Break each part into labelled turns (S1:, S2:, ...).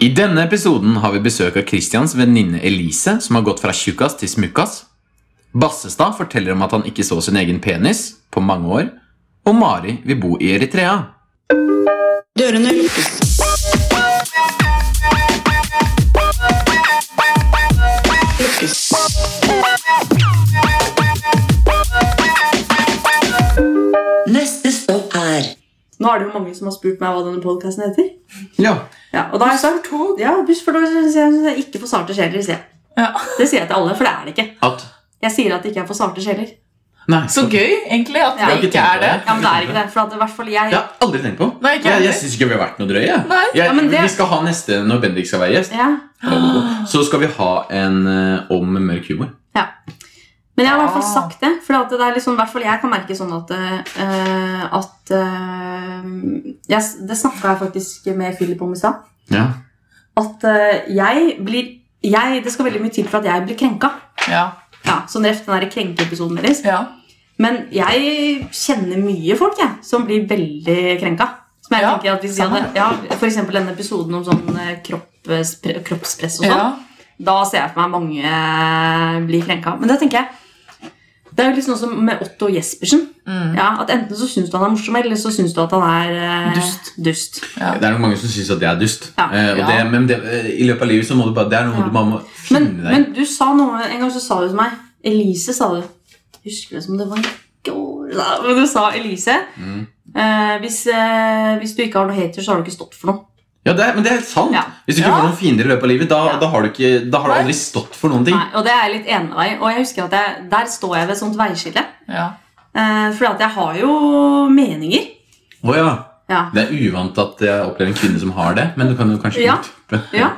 S1: I denne episoden har vi besøk av Christians venninne Elise, som har gått fra tjukkas til smukkas. Bassestad forteller om at han ikke så sin egen penis på mange år. Og Mari vil bo i Eritrea.
S2: Dørene lukkes. Lukkes. Neste stopp er
S3: Nå er det jo mange som har spurt meg hva denne podkasten heter.
S1: Ja.
S3: Ja, og da har jeg sagt Ja, Buss for tog synes jeg, synes jeg ikke for sarte sjeler. Sier jeg.
S4: Ja.
S3: Det sier jeg til alle, for det er det ikke.
S1: At
S3: Jeg sier at det ikke er for sarte sjeler.
S1: Nei.
S4: Så gøy, egentlig, at
S3: Ja.
S4: det ikke er det.
S3: Ja, men det er ikke det, for at i hvert fall jeg
S1: Jeg har aldri tenkt på.
S4: Nei, ikke
S1: jeg jeg
S4: heller.
S1: syns ikke vi har vært noe drøye. jeg.
S4: Nei.
S1: Jeg,
S3: Ja, men det-
S1: Vi skal ha neste når Bendik skal være gjest.
S3: ja.
S1: Så skal vi ha en eh, om mørk humor.
S3: Men jeg har i hvert fall
S4: Ah.
S3: sagt det, for at det er liksom, i hvert fall jeg kan merke sånn at eh, at eh, jeg, s- Det snakka jeg faktisk med Philip om i stad.
S1: Ja.
S3: At eh, jeg blir jeg, Det skal veldig mye til for at jeg blir krenka.
S4: Ja.
S3: Ja, sånn rett den der krenkeepisoden deres.
S4: Ja.
S3: Men jeg kjenner mye folk jeg, som blir veldig krenka. Som jeg
S4: Ja,
S3: tenker at hvis de hadde, ja, For eksempel denne episoden om sånn eh, kroppspre- kroppspress og sånn.
S4: ja.
S3: Da ser jeg for meg mange blir krenka. Men det tenker jeg Det er jo litt sånn som med Otto Jespersen.
S4: Mm.
S3: Ja, at Enten så syns du han er morsom, eller så syns du at han er eh,
S4: Dust.
S3: dust.
S1: Det er nok mange som syns at jeg er dust.
S3: Ja.
S1: Eh, og det,
S4: Ja.
S1: men det, eh, i løpet av livet så må du bare, det er noe
S3: Ja.
S1: du bare må finne
S3: Men,
S1: deg i.
S3: men du sa noe En gang så sa du til meg Elise, sa du. Jeg husker det som det var i går da, Men du sa Elise.
S1: Mm.
S3: eh, hvis, eh, hvis du ikke har noe hater, så har du ikke stått for noe.
S1: Ja, det er, men det er sant.
S3: Ja.
S1: Hvis du ikke
S4: Ja.
S1: får noen fiender i løpet av livet, da,
S3: Ja.
S1: da har du, ikke, da har du
S4: Nei.
S1: aldri stått for noen ting.
S3: Nei, og det er jeg litt enig med deg i. Og jeg husker at jeg, der står jeg ved et sånt veiskille.
S4: ja.
S3: Uh, fordi at jeg har jo meninger.
S1: Å ja.
S3: Ja.
S1: Det er uvant at jeg opplever en kvinne som har det, men du kan jo kanskje
S3: Ja.
S1: utdype.
S3: Ja.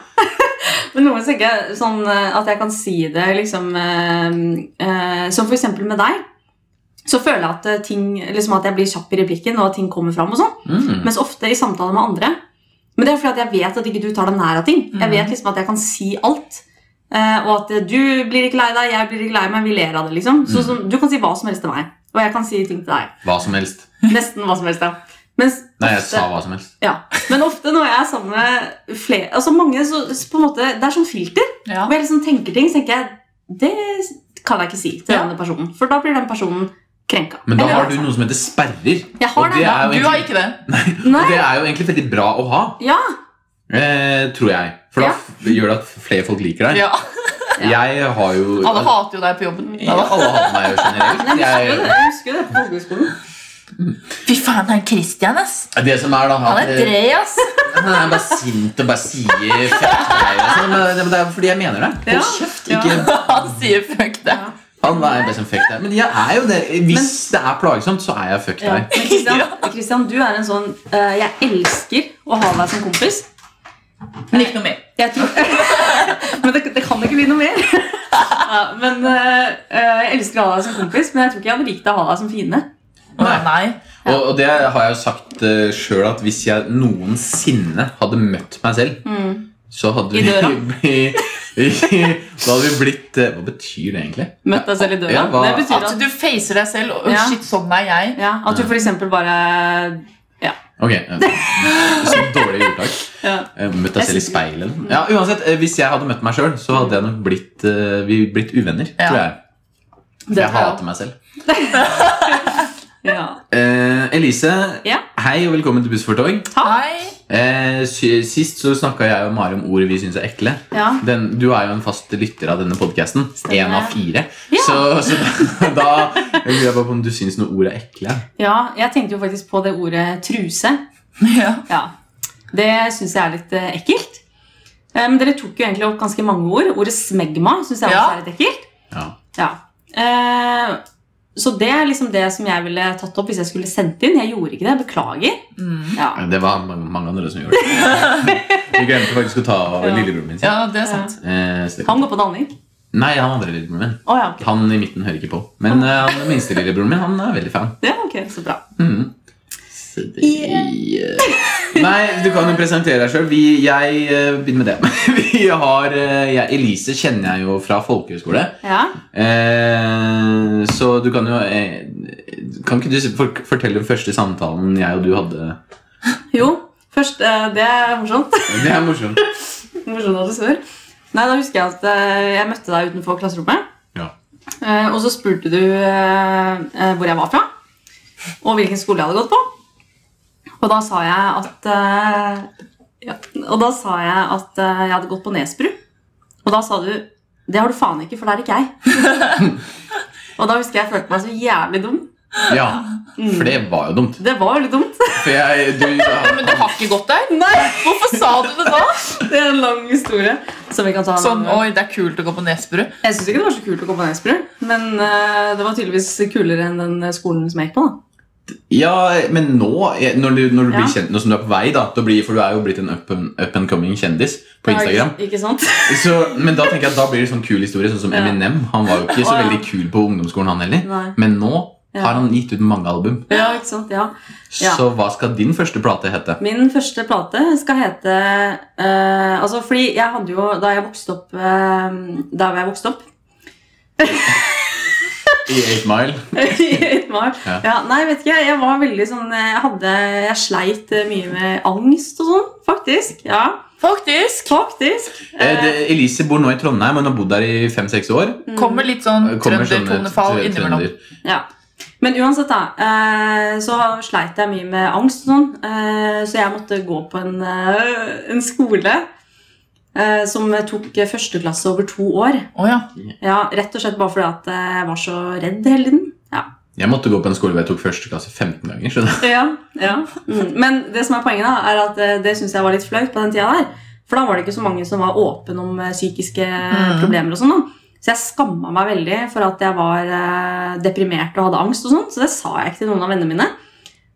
S3: Men noen ganger tenker jeg sånn eh, at jeg kan si det liksom eh, eh, Som for eksempel med deg. Så føler jeg at, eh, ting, liksom at jeg blir kjapp i replikken, og at ting kommer fram. og sånn.
S1: Mm.
S3: Mens ofte i samtaler med andre Men det er fordi at jeg vet at ikke du tar deg nær av ting. Jeg
S1: Mm.
S4: Mhm.
S3: vet liksom at jeg kan si alt. eh, og at eh, du blir ikke lei deg, jeg blir ikke lei meg, vi ler av det. liksom. Så,
S1: Mhm.
S3: som- du kan si hva som helst til meg, og jeg kan si ting til deg.
S1: Hva som helst.
S3: Nesten hva som helst. ja. Mens
S1: Nei, jeg
S3: ofte-
S1: sa hva som helst.
S3: ja. Men ofte når jeg er sammen med flere altså mange, så, så på en måte, Det er sånn filter.
S4: ja.
S3: Hvor jeg liksom tenker ting, så tenker jeg det kan jeg ikke si til
S4: Ja.
S3: denne personen. For da blir den personen krenka.
S1: Men da
S3: Eller- altså,
S1: har du noe som heter sperrer.
S3: Jeg har
S1: og
S3: det.
S1: det er jo
S4: Du har
S1: egentlig,
S4: ikke det.
S3: Nei.
S1: og det er jo egentlig veldig bra å ha,
S3: Ja.
S1: eh, tror jeg. For da
S3: Ja.
S1: f- gjør det at flere folk liker deg.
S4: Ja.
S1: Jeg har jo
S4: Alle hater jo deg på jobben.
S1: Ja, alle hater meg jo generelt. Jeg,
S3: Jeg husker jo det, jeg husker jo det på folkehøyskolen.
S4: Fy faen, han Christian, ass.
S1: det som er da
S4: Han er
S1: at- eh,
S4: drøy, ass.
S1: Han er bare sint og bare sier fuck deg og sånn, men det- men det er fordi jeg mener det.
S3: Ja.
S1: Hold kjeft.
S3: Ja.
S1: Ikke
S4: Han sier fuck deg.
S1: Han er best som fuck deg. Men jeg er jo det. Hvis det er plagsomt, så er jeg fuck
S3: Ja.
S1: deg.
S3: Men Christian, Christian, du er en sånn eh, Jeg elsker å ha deg som kompis.
S4: Men ikke noe mer.
S3: Jeg tror Men det, det kan ikke bli noe mer. ja, men eh, eh, Jeg elsker å ha deg som kompis, men jeg tror ikke jeg hadde likt å ha deg som fiende.
S4: Nei.
S1: Nei. Og, og det har jeg jo sagt uh, sjøl at hvis jeg noensinne hadde møtt meg selv, så hadde
S3: Mm. I
S1: vi
S3: døra?
S1: blitt- Da hadde vi blitt eh, Hva betyr det egentlig?
S3: Møtt deg selv i døra.
S1: Ja, hva-
S3: det betyr
S4: At
S3: at,
S4: du facer deg selv og «Å,
S3: Ja.
S4: shit, sånn er jeg.
S3: ja, at du f.eks. bare
S1: Ok, eh, Så dårlig ordtak.
S3: ja. Mm.
S1: Eh, Møtt deg selv i speilet eller noe. Ja, uansett, eh, Hvis jeg hadde møtt meg sjøl, så hadde jeg nok blitt, eh, vi blitt uvenner.
S4: Ja.
S1: Tror jeg.
S3: Det
S1: Jeg
S3: tror jeg
S1: hater meg selv.
S3: Ja.
S1: Eh, Elise,
S3: Ja.
S1: hei og velkommen til Buss for tog.
S4: Hei.
S1: Eh, sy- sist så snakka jeg og Mari om ord vi syns er ekle.
S3: Ja.
S1: Den, du er jo en fast lytter av denne podkasten.
S3: Stemmer.
S1: Én av fire.
S3: Ja.
S1: Så, så da jeg lurer bare på om du syns noen ord er ekle.
S3: ja, jeg tenkte jo faktisk på det ordet truse.
S4: Ja.
S3: Ja. Det syns jeg er litt eh, ekkelt. Eh, Men dere tok jo egentlig opp ganske mange ord. Ordet smegma syns jeg også
S4: Ja.
S3: er litt ekkelt.
S1: Ja.
S3: Ja. Eh, Så det er liksom det som jeg ville tatt opp hvis jeg skulle sendt inn. Jeg gjorde ikke det. Beklager.
S4: Mm.
S3: Ja.
S1: Det var mange, mange andre som gjorde det. Vi glemte faktisk å ta
S3: Ja.
S1: lillebroren min sin.
S4: ja, det er sant.
S1: Eh, så det-
S3: Han går på danning.
S1: Nei, han andre lillebroren min.
S3: Å ja, ok.
S1: Han i midten hører ikke på. Men eh, han minste lillebroren min han er veldig fan.
S3: Ja, ok, Så bra.
S1: Mhm. Så det,
S3: eh,
S1: Nei, du kan jo presentere deg sjøl. Jeg eh, begynner med det. Vi har, eh, jeg, Elise kjenner jeg jo fra folkehøyskole.
S3: Ja.
S1: Eh, så du kan jo eh, Kan ikke du s- for- fortelle den første samtalen jeg og du hadde?
S3: Jo, først eh, Det er morsomt.
S1: Det er morsomt.
S3: morsomt at du spør. Nei, da husker jeg at eh, jeg møtte deg utenfor klasserommet.
S1: Ja.
S3: Eh, Og så spurte du eh, eh, hvor jeg var fra, og hvilken skole jeg hadde gått på. Og da sa jeg at eh, ja, Og da sa jeg at eh, jeg hadde gått på Nesbru. Og da sa du det har du faen ikke, for det er ikke jeg. og da husker jeg jeg følte meg så jævlig dum.
S1: Ja,
S3: Mm.
S1: for det var jo dumt.
S3: Det var jo litt dumt.
S1: For jeg, du,
S4: Men du har ikke gått der?
S3: Nei,
S4: Hvorfor sa du det da?
S3: Det er en lang historie. Som vi kan ta en
S4: Sånn,
S3: annen gang.
S4: oi, det er kult å gå på Nesbru.
S3: Jeg syns ikke det var så kult å gå på Nesbru, men eh, det var tydeligvis kulere enn den skolen som jeg gikk på. da.
S1: Ja, men nå, eh, når du, når du blir
S3: Ja.
S1: kjent, nå som du er på vei, da, da blir, for du er jo blitt en up, and- up and coming kjendis på Instagram.
S3: Ja, ikke sant?
S1: Så, men da tenker jeg at da blir det sånn kul historie, sånn som
S3: Ja.
S1: Eminem. Han var jo ikke så
S3: Å, ja.
S1: veldig kul på ungdomsskolen, han heller.
S3: Nei.
S1: Men nå
S3: Ja.
S1: har han gitt ut mange album.
S3: Ja, ikke sant? Ja. Ja.
S1: Så hva skal din første plate hete?
S3: Min første plate skal hete eh, Altså, fordi jeg hadde jo Da jeg vokste opp eh, Der hvor jeg vokste opp
S1: I 8 Mile.
S3: i Ytmar. ja.
S1: Ja.
S3: Nei, vet ikke. Jeg var veldig sånn eh, Jeg hadde Jeg sleit eh, mye med angst og sånn, faktisk. Ja,
S4: Faktisk.
S3: faktisk.
S1: Eh, det, Elise bor nå i Trondheim, men har bodd der i 5-6 år.
S3: Mm.
S4: Kommer litt sånn
S1: Kommer sånne
S4: trøndertonefall
S1: tre-
S4: innimellom.
S1: trønder.
S3: Ja. Men uansett, da, eh, så sleit jeg mye med angst og sånn. eh, Så jeg måtte gå på en, eh, en skole eh, som tok eh, førsteklasse over to år.
S4: Å ja.
S3: Ja, Rett og slett bare fordi at eh, jeg var så redd hele tiden. Ja.
S1: Jeg måtte gå på en skole hvor jeg tok første klasse 15 ganger. skjønner du?
S3: ja, Mm. Men det som er poenget, da, er at eh, det syns jeg var litt flaut på den tida der. For da var det ikke så mange som var åpne om eh, psykiske eh,
S4: Mm.
S3: problemer og sånn. da. Så jeg skamma meg veldig for at jeg var eh, deprimert og hadde angst og sånn. Så det sa jeg ikke til noen av vennene mine.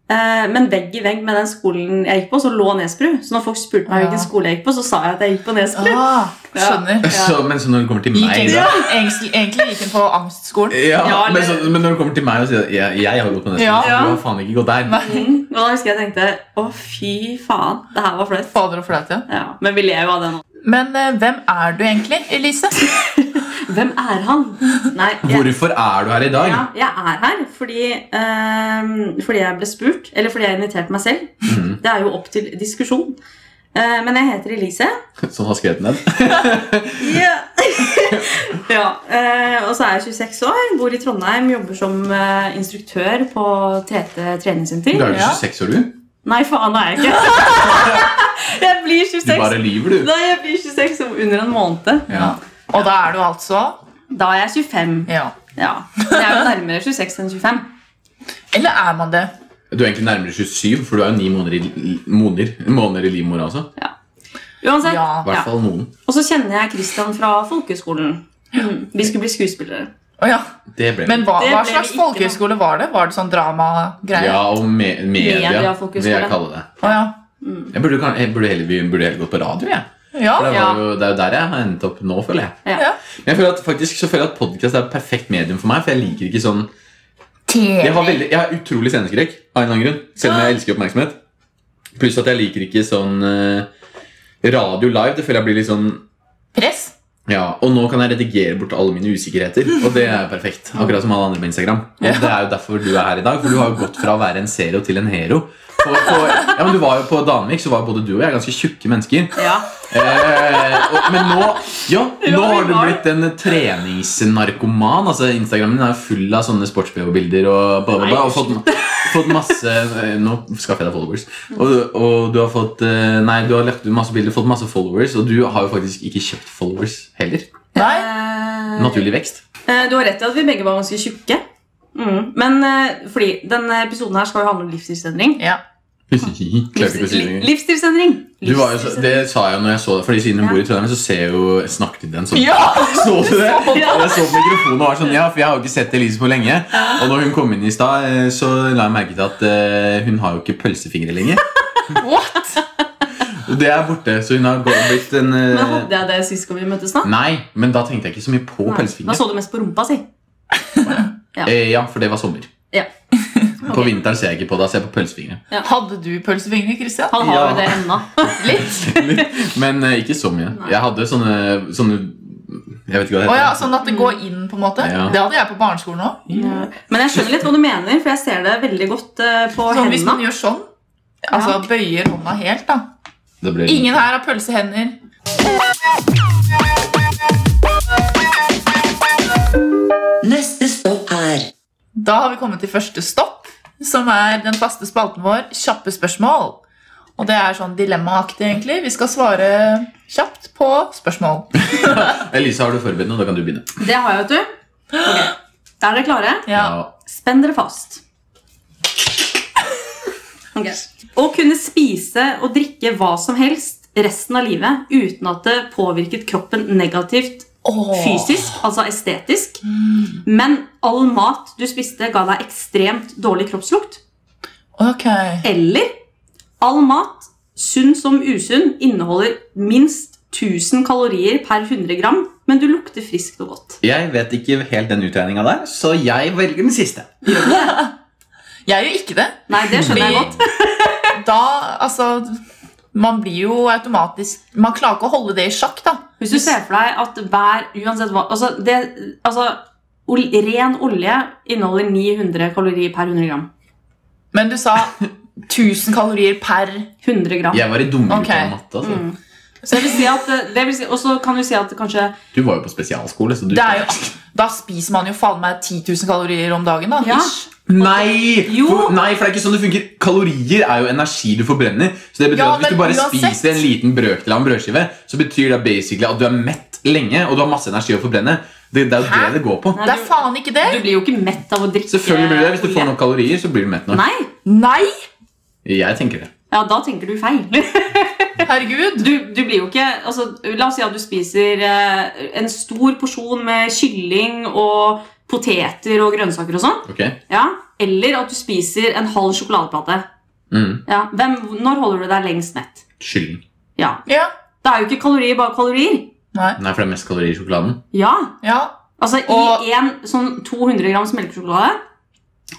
S3: Eh, men vegg i vegg med den skolen jeg gikk på, så lå Nesbru. Så når folk spurte meg
S4: Ja.
S3: hvilken skole jeg gikk på, så sa jeg at jeg gikk på Nesbru.
S4: Ah, skjønner.
S1: Så, men så når det kommer til
S4: Gikk
S1: meg,
S4: inn,
S1: da
S4: egentlig, egentlig gikk hun på angstskolen.
S1: ja,
S3: Ja,
S1: men, så,
S3: eller-
S1: men når det kommer til meg og sier at jeg, jeg har gått på nesten,
S4: Ja.
S1: du har faen ikke gått der.
S4: Nei,
S3: Mm. Og da husker jeg jeg tenkte å, fy faen, det her var flaut.
S4: fader og flaut, ja.
S3: Ja, men vi ler jo av det nå.
S4: Men eh, hvem er du egentlig, Elise?
S3: Hvem er han? Nei, jeg,
S1: Hvorfor er du her i dag?
S3: ja, jeg er her fordi, ehm, fordi jeg ble spurt, eller fordi jeg inviterte meg selv.
S1: Mhm.
S3: Det er jo opp til diskusjon. Eh, men jeg heter Elise.
S1: Sånn har jeg skrevet ned.
S3: ja, eh, og så er jeg 26 år, bor i Trondheim, jobber som eh, instruktør på TT treningssenter.
S1: Du er jo
S4: Ja.
S1: 26 år, du.
S3: Nei, faen, det er jeg ikke. jeg blir
S1: Du
S3: 26.
S1: bare lyver, du.
S3: Nei, jeg blir 26 om under en måned.
S1: Ja.
S4: Og da er du altså
S3: Da er jeg 25.
S4: Ja.
S3: Ja, Jeg er jo nærmere 26 enn 25.
S4: Eller er man det?
S1: Du er egentlig nærmere 27, for du er jo ni måneder i, li- måneder, måneder i livmora. Altså.
S3: Uansett.
S4: Ja.
S1: I hvert fall noen.
S3: Og så kjenner jeg Christian fra folkehøyskolen. Mm, Vi skulle bli skuespillere.
S4: Å ja.
S1: Det ble
S4: Men hva,
S3: Det
S4: hva
S3: ble vi
S4: slags
S3: ikke, da.
S4: folkehøyskole var det? Var det sånn dramagreier?
S1: Ja, og me media,
S3: Mediafokus
S1: vil jeg
S3: på det.
S1: kalle det.
S4: Å ja.
S1: Jeg burde, kan- jeg burde, heller, vi burde heller gått på radio, jeg.
S4: Ja.
S1: For det,
S3: Ja.
S1: var jo, det er jo der jeg har endt opp nå, føler jeg.
S3: Ja.
S4: Ja.
S1: Men jeg føler at, faktisk så føler jeg at podcast er et perfekt medium for meg, for jeg liker ikke sånn Jeg har,
S4: TV.
S1: veldig, jeg har utrolig sceneskrekk, av en eller annen grunn. Selv om jeg elsker oppmerksomhet. Pluss at jeg liker ikke sånn eh, radio live. Det føler jeg blir litt sånn
S4: Press.
S1: Ja, Og nå kan jeg redigere bort alle mine usikkerheter. Og det er jo perfekt. Akkurat som alle andre på Instagram. Og det er jo derfor du er her i dag, for du har jo gått fra å være en zero til en hero. På, på, ja, men du var jo på Danvik, så var jo både du og jeg ganske tjukke mennesker.
S3: Ja.
S1: Eh, og, men nå ja, nå
S3: Ja,
S1: har
S3: vi
S1: du
S3: var.
S1: blitt en treningsnarkoman. Altså Instagrammen din er jo full av sånne sports-BH-bilder og bla, bla, bla. Og fått, fått masse eh, Nå skaffer jeg deg followers. Og, og du har fått eh, Nei, du har lagt ut masse bilder, fått masse followers, og du har jo faktisk ikke kjøpt followers heller.
S4: Nei.
S3: Eh,
S1: Naturlig vekst.
S3: eh, Du har rett i at vi begge var ganske tjukke. Mm. Men eh, fordi denne episoden her skal jo handle om livsstilsendring.
S4: Ja.
S1: Klarte ikke å si det engang.
S3: Livsstilsendring!
S1: Du var jo så, det sa jeg jo når jeg så det, Fordi siden hun bor i Trondheim, så ser jeg jo snakket i den sånn.
S4: ja.
S1: Så du det? Og
S3: Ja.
S1: Jeg så på mikrofonen og var sånn, ja, for jeg har jo ikke sett Elise på lenge. Og når hun kom inn i stad, eh, så la jeg merke til at eh, hun har jo ikke pølsefingre lenger.
S4: What?
S1: Og det er borte, så hun har gå- blitt en eh,
S3: Men hadde jeg det sist gang vi møttes? Da
S1: Nei, men da tenkte jeg ikke så mye på
S3: Nei. Da
S1: pølsefingre.
S3: så du mest på rumpa si. ja.
S1: Eh, ja, for det var sommer.
S3: Ja.
S1: På vinteren ser jeg ikke på det, da ser jeg på pølsefingre.
S4: Hadde du pølsefingre, Christian?
S3: Han har
S1: Ja.
S3: jo det ennå.
S4: Litt.
S1: Men eh, ikke så mye.
S3: Nei.
S1: Jeg hadde sånne, sånne Jeg vet ikke hva det
S4: Å ja,
S1: heter.
S4: sånn at det går inn, på en måte?
S1: Ja.
S4: Det hadde jeg på barneskolen òg.
S3: Ja. Men jeg skjønner litt hva du mener, for jeg ser det veldig godt eh, på
S4: Sånn, hvis man
S3: hendene.
S4: gjør sånn, altså bøyer hånda helt, da.
S1: Det ble-
S4: Ingen her har pølsehender.
S2: Neste stopp er
S4: Da har vi kommet til første stopp, som er den faste spalten vår Kjappe spørsmål. Og det er sånn dilemmaaktig, egentlig. Vi skal svare kjapt på spørsmål.
S1: Elise, har du forberedt noe? Da kan du begynne.
S3: Det har jeg, vet du. Ok, Da er dere klare?
S4: Ja.
S3: Spenn dere fast. Ok. Å kunne spise og drikke hva som helst resten av livet uten at det påvirket kroppen negativt
S4: Åh.
S3: fysisk, altså estetisk, men all mat du spiste, ga deg ekstremt dårlig kroppslukt.
S4: Ok.
S3: Eller all mat, sunn som usunn, inneholder minst 1000 kalorier per 100 gram, men du lukter friskt og godt.
S1: Jeg vet ikke helt den utregninga der, så jeg velger den siste.
S4: Jeg gjør ikke det.
S3: Nei, det skjønner jeg
S4: Fordi-
S3: godt.
S4: Da, altså Man blir jo automatisk Man klarer ikke å holde det i sjakk, da.
S3: Hvis du ser for deg at hver uansett hva, altså, det, altså ol, Ren olje inneholder 900 kalorier per 100 gram.
S4: Men du sa 1000 kalorier per
S3: 100 gram.
S1: Jeg var i dumgruppa
S4: Ok.
S1: i matte. Altså.
S3: Mm. Så jeg vil si at, eh, det vil si, Og så kan du si at kanskje
S1: Du var jo på spesialskole, så du
S4: Det er jo, Da spiser man jo faen meg 10 000 kalorier om dagen, da.
S3: Ja.
S4: ish.
S1: Nei!
S3: Jo.
S1: For, nei, for det er ikke sånn det funker. Kalorier er jo energi du forbrenner. Så det betyr
S4: Ja,
S1: at Hvis
S4: men
S1: du bare
S4: uansett-
S1: spiser en liten brøkdel av en brødskive, så betyr det basically at du er mett lenge og du har masse energi å forbrenne. Det, det er jo
S4: Hæ?
S1: det det går på.
S3: Nei,
S4: Det er faen ikke det.
S3: Du blir jo ikke mett av å drikke
S1: Selvfølgelig blir det det. Hvis du
S3: olje.
S1: får nok kalorier, så blir du mett nok.
S3: Nei!
S4: Nei!
S1: Jeg tenker det.
S3: Ja, da tenker du feil.
S4: Herregud.
S3: Du, du blir jo ikke altså, La oss si at du spiser eh, en stor porsjon med kylling og poteter og grønnsaker og sånn.
S1: Ok?
S3: Ja. Eller at du spiser en halv sjokoladeplate.
S1: Mm.
S3: Ja. Hvem, når holder du deg lengst mett?
S1: Kylling.
S3: Ja.
S4: Ja.
S3: Det er jo ikke kalorier, bare kalorier.
S4: Nei.
S1: Nei, for det er mest kalorier i sjokoladen.
S3: Ja.
S4: Ja.
S3: Altså,
S4: Og-
S3: i en sånn 200 grams melkesjokolade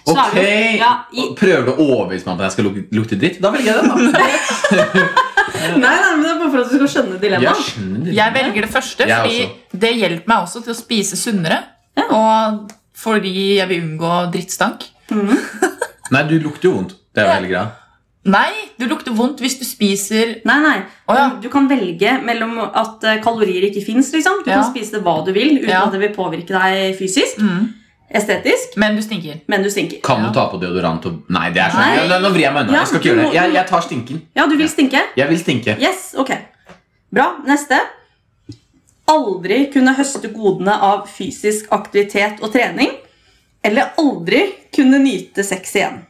S3: så
S1: Ok!
S3: er det jo ja, i,
S1: Prøver du å overbevise meg om at jeg skal luk- lukte dritt? Da velger jeg den, da.
S3: Nei, nei, men det er bare for at du skal skjønne
S1: Jeg skjønner det.
S4: Jeg velger det første,
S1: Jeg
S4: fordi det hjelper meg også til å spise sunnere. Og fordi jeg vil unngå drittstank.
S1: Nei, du lukter jo vondt. Det er jo hele greia.
S4: Nei, du lukter vondt hvis du spiser
S3: Nei, nei.
S4: Å, ja.
S3: Du kan velge mellom at eh, kalorier ikke fins. Liksom. Du
S4: Ja.
S3: kan spise hva du vil uten
S4: Ja.
S3: at det vil påvirke deg fysisk.
S4: mm,
S3: Estetisk.
S4: Men du stinker.
S3: Men du stinker.
S1: Kan
S4: Ja.
S1: du ta på deodorant og Nei, det er sånn.
S3: Nei.
S1: Ja, nå vrir jeg meg unna.
S3: Ja,
S1: Jeg skal ikke
S3: du
S1: gjøre
S3: må-
S1: det. Jeg, jeg tar stinken.
S3: Ja, du vil stinke?
S1: Jeg vil stinke.
S3: Yes, ok. Bra. Neste. Aldri kunne høste godene av fysisk aktivitet og trening. Eller aldri kunne nyte sex igjen.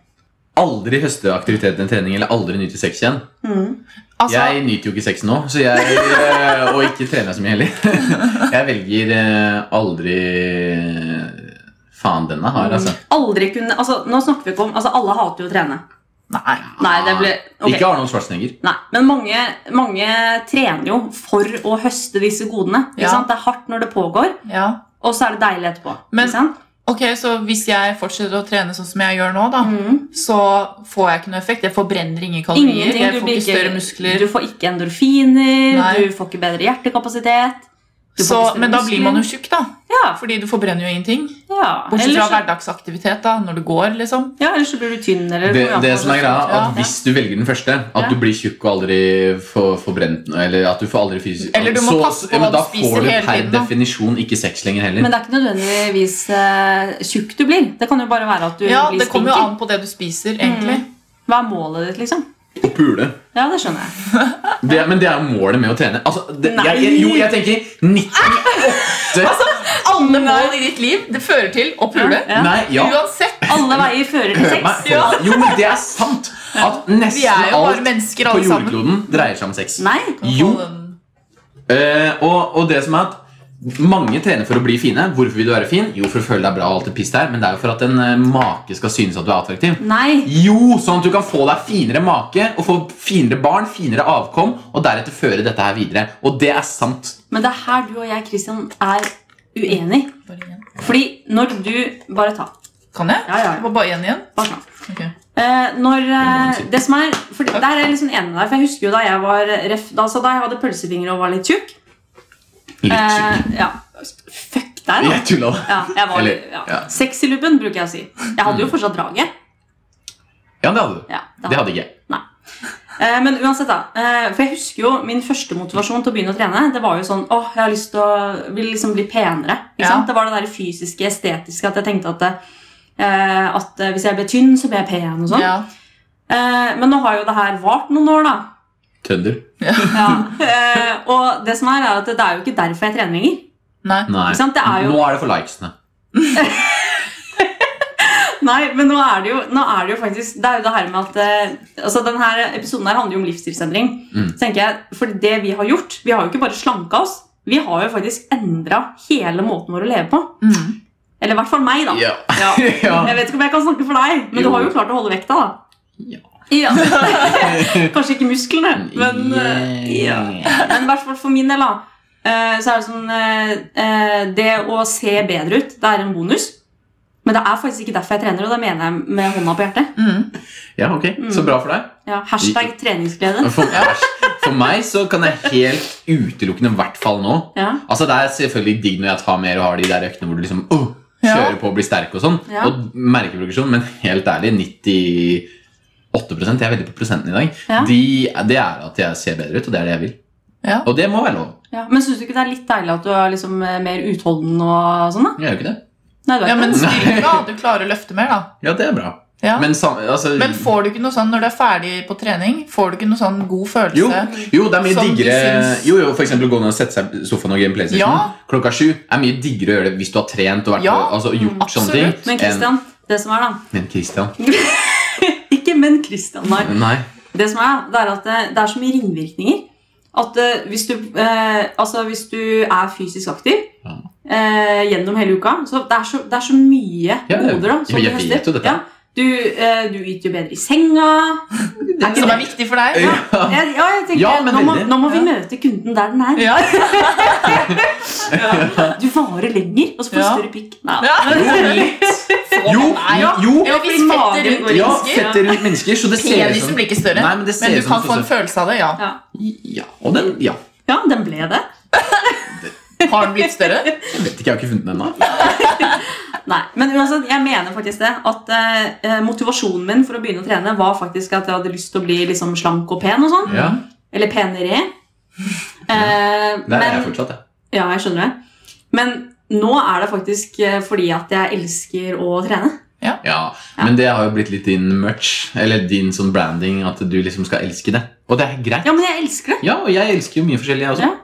S1: Aldri høste aktivitet enn trening eller aldri nyte sex igjen.
S3: Hmm.
S4: Altså,
S1: Jeg nyter jo ikke sex nå, så jeg, eh, og ikke trener jeg så mye heller. Jeg velger eh, aldri Faen, denne har
S3: Mm.
S1: altså.
S3: Aldri kunne, altså, nå snakker vi ikke om, altså Alle hater jo å trene.
S4: Nei.
S3: Nei, det ble, ok.
S1: Ikke Arnold Schwarzenegger.
S3: Nei, Men mange, mange trener jo for å høste disse godene. Ikke
S4: Ja.
S3: sant? Det er hardt når det pågår,
S4: Ja.
S3: og så er det deilig etterpå.
S4: Men-
S3: ikke sant?
S4: Ok, Så hvis jeg fortsetter å trene sånn som jeg gjør nå, da,
S3: Mhm.
S4: så får jeg ikke noe effekt. Jeg forbrenner ingen kalorier.
S3: Ingenting,
S4: jeg
S3: du
S4: får
S3: blir
S4: ikke
S3: ikke-
S4: større muskler.
S3: Du får ikke endorfiner,
S4: Nei.
S3: du får ikke bedre hjertekapasitet. du får
S4: så,
S3: ikke større
S4: men da blir man jo
S3: muskler.
S4: tjukk, da.
S3: Ja,
S4: Fordi du forbrenner jo ingenting.
S3: ja.
S4: Bortsett
S3: Ellers
S4: fra
S3: så-
S4: hverdagsaktivitet, da, når du går, liksom.
S3: Ja, ellers så blir du tynn. Eller
S1: Det,
S3: kommer
S1: det
S3: an på
S1: som er
S3: hva
S1: greia,
S3: slags-
S1: er
S4: Ja.
S1: at Hvis du velger den første,
S3: Ja.
S1: at du blir tjukk og aldri får får brent noe, Eller at du får aldri fysisk
S4: Eller du må passe på
S1: ja, men
S4: hva
S1: Da
S4: du spiser
S1: får du
S4: hele
S1: per
S4: tiden, da.
S1: definisjon ikke sex lenger heller.
S3: Men det er ikke nødvendigvis eh, tjukk du blir. Det kan jo bare være at du
S4: Ja,
S3: blir
S4: Det kommer jo
S3: stinker.
S4: an på det du spiser, egentlig.
S3: Hva er målet ditt, liksom?
S1: Å pule.
S3: Ja, det skjønner jeg.
S1: Det, er- men det er jo målet med å trene. Altså, det,
S3: Nei.
S1: jeg, jeg, jo, jeg tenker
S4: Altså,
S1: 98
S4: Alle mål i ditt liv det fører til å pule.
S3: Ja.
S1: Nei, ja.
S4: Uansett. altså,
S3: Alle veier fører til
S1: Hør meg.
S3: sex.
S1: Jo, men det er sant! At
S4: Vi er
S1: nesten
S4: jo bare
S1: alt
S4: mennesker,
S1: på
S4: alle sammen.
S1: jordkloden dreier seg om sex.
S3: Nei.
S1: Jo, eh, og, og det som er at mange trener for å bli fine. Hvorfor vil du være fin? Jo, for å føle deg bra og alt det pisset her, men det er jo for at en eh, make skal synes at du er attraktiv.
S3: Nei.
S1: Jo, sånn at du kan få deg finere make og få finere barn, finere avkom, og deretter føre dette her videre. Og det er sant.
S3: Men det er her du og jeg, Christian, er uenig. Fordi når du Bare ta.
S4: Kan jeg?
S3: Ja, ja, ja.
S4: Det var bare én igjen?
S3: Bare ta.
S4: Ok.
S3: Eh, når, eh, det som er, for Der er jeg liksom enig med deg. For jeg husker jo da jeg var ref, da, altså da jeg hadde pølsefingre og var litt tjukk
S1: Litt
S3: eh,
S1: sykt.
S3: ja. Fuck deg, da.
S1: Jeg tulla.
S3: Ja, jeg var,
S1: Eller,
S3: ja.
S1: ja.
S3: Sexylubben, bruker jeg å si. Jeg hadde jo fortsatt draget.
S1: Ja, det hadde du.
S3: Ja, da-
S1: Det hadde ikke jeg.
S3: Eh, Men uansett, da. eh, For jeg husker jo min første motivasjon til å begynne å trene. Det var jo sånn åh, jeg har lyst til å vil liksom bli penere. Ikke
S4: Ja.
S3: sant? Det var det der fysiske, estetiske at jeg tenkte at, eh, at eh, hvis jeg ble tynn, så ble jeg pen og sånn.
S4: Ja.
S3: Eh, Men nå har jo det her vart noen år, da.
S1: Tønder.
S3: Eh, Og det som er, er at det er jo ikke derfor jeg trener lenger.
S4: Nei.
S1: Nei.
S3: Ikke sant? Det er jo-
S1: Nå er det for likesene.
S3: Nei, men nå er det jo, nå er det jo faktisk Det er jo det her med at eh, altså Denne episoden her handler jo om livsstilsendring.
S1: Mm.
S3: Så tenker jeg, For det vi har gjort Vi har jo ikke bare slanka oss, vi har jo faktisk endra hele måten vår å leve på.
S4: Mm.
S3: Eller i hvert fall meg, da.
S1: Ja.
S3: Ja.
S1: Ja.
S3: Jeg vet ikke om jeg kan snakke for deg, men
S1: Jo.
S3: du har jo klart å holde vekta, da.
S1: Ja.
S3: Kanskje ikke musklene, men eh, ja. Men i hvert fall for min del, da. eh, Så er det sånn eh, eh, Det å se bedre ut, det er en bonus. Men det er faktisk ikke derfor jeg trener, og det mener jeg med hånda på hjertet.
S4: Mm.
S1: ja, ok. Så
S3: Mm.
S1: bra for deg.
S3: Ja, hashtag treningsglede.
S1: For, for meg så kan jeg helt utelukkende, i hvert fall nå
S3: Ja.
S1: Altså Det er selvfølgelig digg når jeg tar mer og har de der øktene hvor du liksom åh,
S4: Ja.
S1: kjører på og blir sterk og sånn.
S3: Ja.
S1: Og merkeprogresjon, men helt ærlig, 98 jeg er veldig på prosenten i dag,
S3: Ja.
S1: de, det er at jeg ser bedre ut, og det er det jeg vil.
S4: Ja.
S1: Og det må være lov.
S3: Ja. Men syns du ikke det er litt deilig at du er liksom eh, mer utholden og sånn, da?
S1: Jeg gjør ikke det.
S3: Nei, du er
S4: ja,
S3: ikke
S4: men
S3: det.
S4: styrka. Du klarer å løfte mer, da.
S1: Ja, det er bra.
S4: Ja.
S1: Men,
S4: Men,
S1: sam, altså,
S4: får du ikke noe sånn når du er ferdig på trening? Får du sånn ikke noe sånn god følelse?
S1: jo, jo, det er mye
S4: Som du
S1: diggere
S4: syns-
S1: Jo, jo, for eksempel gå ned og sette seg i sofaen og game PlayStation
S4: Ja.
S1: klokka sju. er mye diggere å gjøre det hvis du har trent og vært
S4: Ja,
S1: på, altså, gjort sånne ting.
S4: absolutt.
S3: Men Christian, det som er,
S1: enn- Men Christian.
S3: da Ikke men Christian, nei.
S1: Nei.
S3: Det som er, det er at eh, det, det er så mye ringvirkninger. At eh, hvis, du, eh, altså, hvis du er fysisk aktiv
S1: Ja.
S3: eh, gjennom hele uka så det, er så det er så mye
S1: Ja, det-
S3: goder da, som
S1: jeg
S3: du
S1: vet
S3: høster.
S1: jo dette.
S3: Ja. Du, eh, du yter bedre i senga. Er ikke
S4: Som
S3: det-
S4: er viktig for deg?
S1: Ja.
S3: Ja, ja, jeg tenker,
S1: Ja, men
S3: nå, må,
S1: veldig.
S3: nå må vi
S4: Ja.
S3: møte kunden der den er.
S4: Ja.
S3: Du varer lenger, og så får du
S4: Ja.
S3: større pikk. Nei.
S4: Ja.
S1: Jo,
S4: Nei,
S1: jo,
S4: ja.
S1: jo.
S4: Jo, hvis
S3: fordi
S4: fettet
S3: magen
S4: rundt
S3: går i
S1: Ja,
S4: mennesker,
S1: fettet rundt mennesker, så det ser ut
S4: Penisen
S1: som
S4: blir ikke større,
S1: Nei, men det ser
S4: men du
S1: ut som
S4: kan få en
S1: så-
S4: følelse av det. ja.
S3: Ja.
S1: Ja, og den Ja.
S3: ja, den ble det.
S4: Har den blitt større?
S1: Jeg vet ikke, jeg har ikke funnet den ennå.
S3: Nei, men uansett, jeg mener faktisk det at eh, motivasjonen min for å begynne å trene var faktisk at jeg hadde lyst til å bli liksom slank og pen og sånn.
S1: Ja,
S3: Eller penere. Eh,
S1: der er
S3: men-
S1: jeg fortsatt, jeg.
S3: Ja, jeg skjønner det. Men nå er det faktisk eh, fordi at jeg elsker å trene.
S1: Ja, men det har jo blitt litt din merch, eller din sånn branding, at du liksom skal elske det. Og det er greit.
S3: Ja, men jeg elsker det.
S1: Ja, og jeg elsker jo mye forskjellig, jeg også.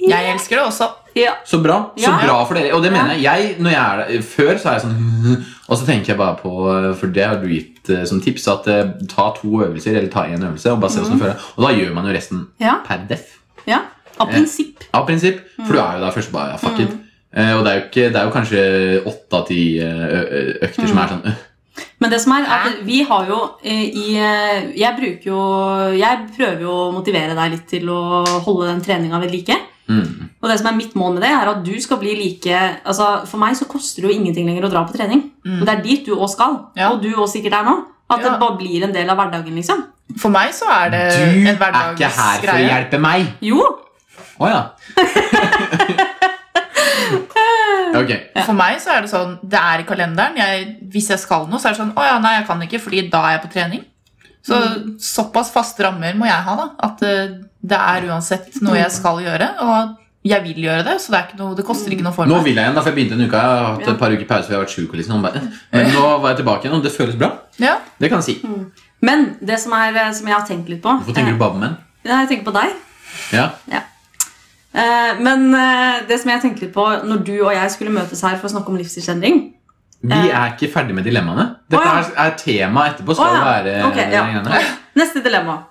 S3: Ja.
S4: Jeg elsker det også.
S3: Ja.
S1: Så bra. Så
S3: Ja.
S1: bra for dere. Og det mener jeg. jeg når jeg er der, før så er jeg sånn Og så tenker jeg bare på For det har du gitt eh, som tips, at eh, ta to øvelser, eller ta én øvelse, og bare se hvordan du føler deg. Og da gjør man jo resten
S3: Ja,
S1: per def.
S3: ja. Av
S1: Ja.
S3: prinsipp.
S1: Av prinsipp.
S3: Mm.
S1: For du er jo der først bare ja, fuck it. Eh, og det er, jo ikke, det er jo kanskje åtte av ti eh, ø- ø- økter
S3: Mm.
S1: som er sånn øh,
S3: Men det som er, er at vi har jo eh, i eh, Jeg bruker jo Jeg prøver jo å motivere deg litt til å holde den treninga ved like.
S1: mm.
S3: Og det som er mitt mål med det, er at du skal bli like Altså, For meg så koster det jo ingenting lenger å dra på trening.
S4: Mm.
S3: Og det er dit du òg skal.
S4: Ja.
S3: Og du òg sikkert er nå. At
S4: Ja.
S3: det bare blir en del av hverdagen, liksom.
S4: For meg så er
S3: Eh,
S4: det
S1: Du
S4: en
S1: er ikke her for å
S4: hverdagsgreie.
S1: hjelpe meg!
S3: Jo!
S1: Å ja. Ok.
S4: For meg så er det sånn, det er i kalenderen. Jeg, hvis jeg skal noe, så er det sånn Å ja, nei, jeg kan ikke, fordi da er jeg på trening. Så
S1: Mm.
S4: såpass faste rammer må jeg ha, da. At eh, det er uansett noe jeg skal gjøre. Og jeg vil gjøre det, så det, er ikke noe, det koster ikke noe for
S1: Nå
S4: meg.
S1: vil jeg igjen, da, for jeg begynte en uke. Jeg har hatt
S3: Ja.
S1: et par uker pause, for jeg har vært syk. og Liksom. og bare, Men nå var jeg tilbake igjen, og det føles bra.
S4: Ja.
S1: Det kan jeg si.
S3: Mm. Men det som, er, eh, som jeg har tenkt litt på
S1: Hvorfor tenker du bare på menn?
S3: Eh, Jeg tenker på deg.
S1: Ja.
S3: Eh, Men eh, det som jeg tenker litt på når du og jeg skulle møtes her for å snakke om livsstilsendring
S1: Vi er ikke ferdig med dilemmaene. Dette
S3: Eh. Å,
S1: er, er tema etterpå. Skal
S3: Å, ja.
S1: det være
S3: Ok, ja.
S1: greiene.
S3: Neste dilemma.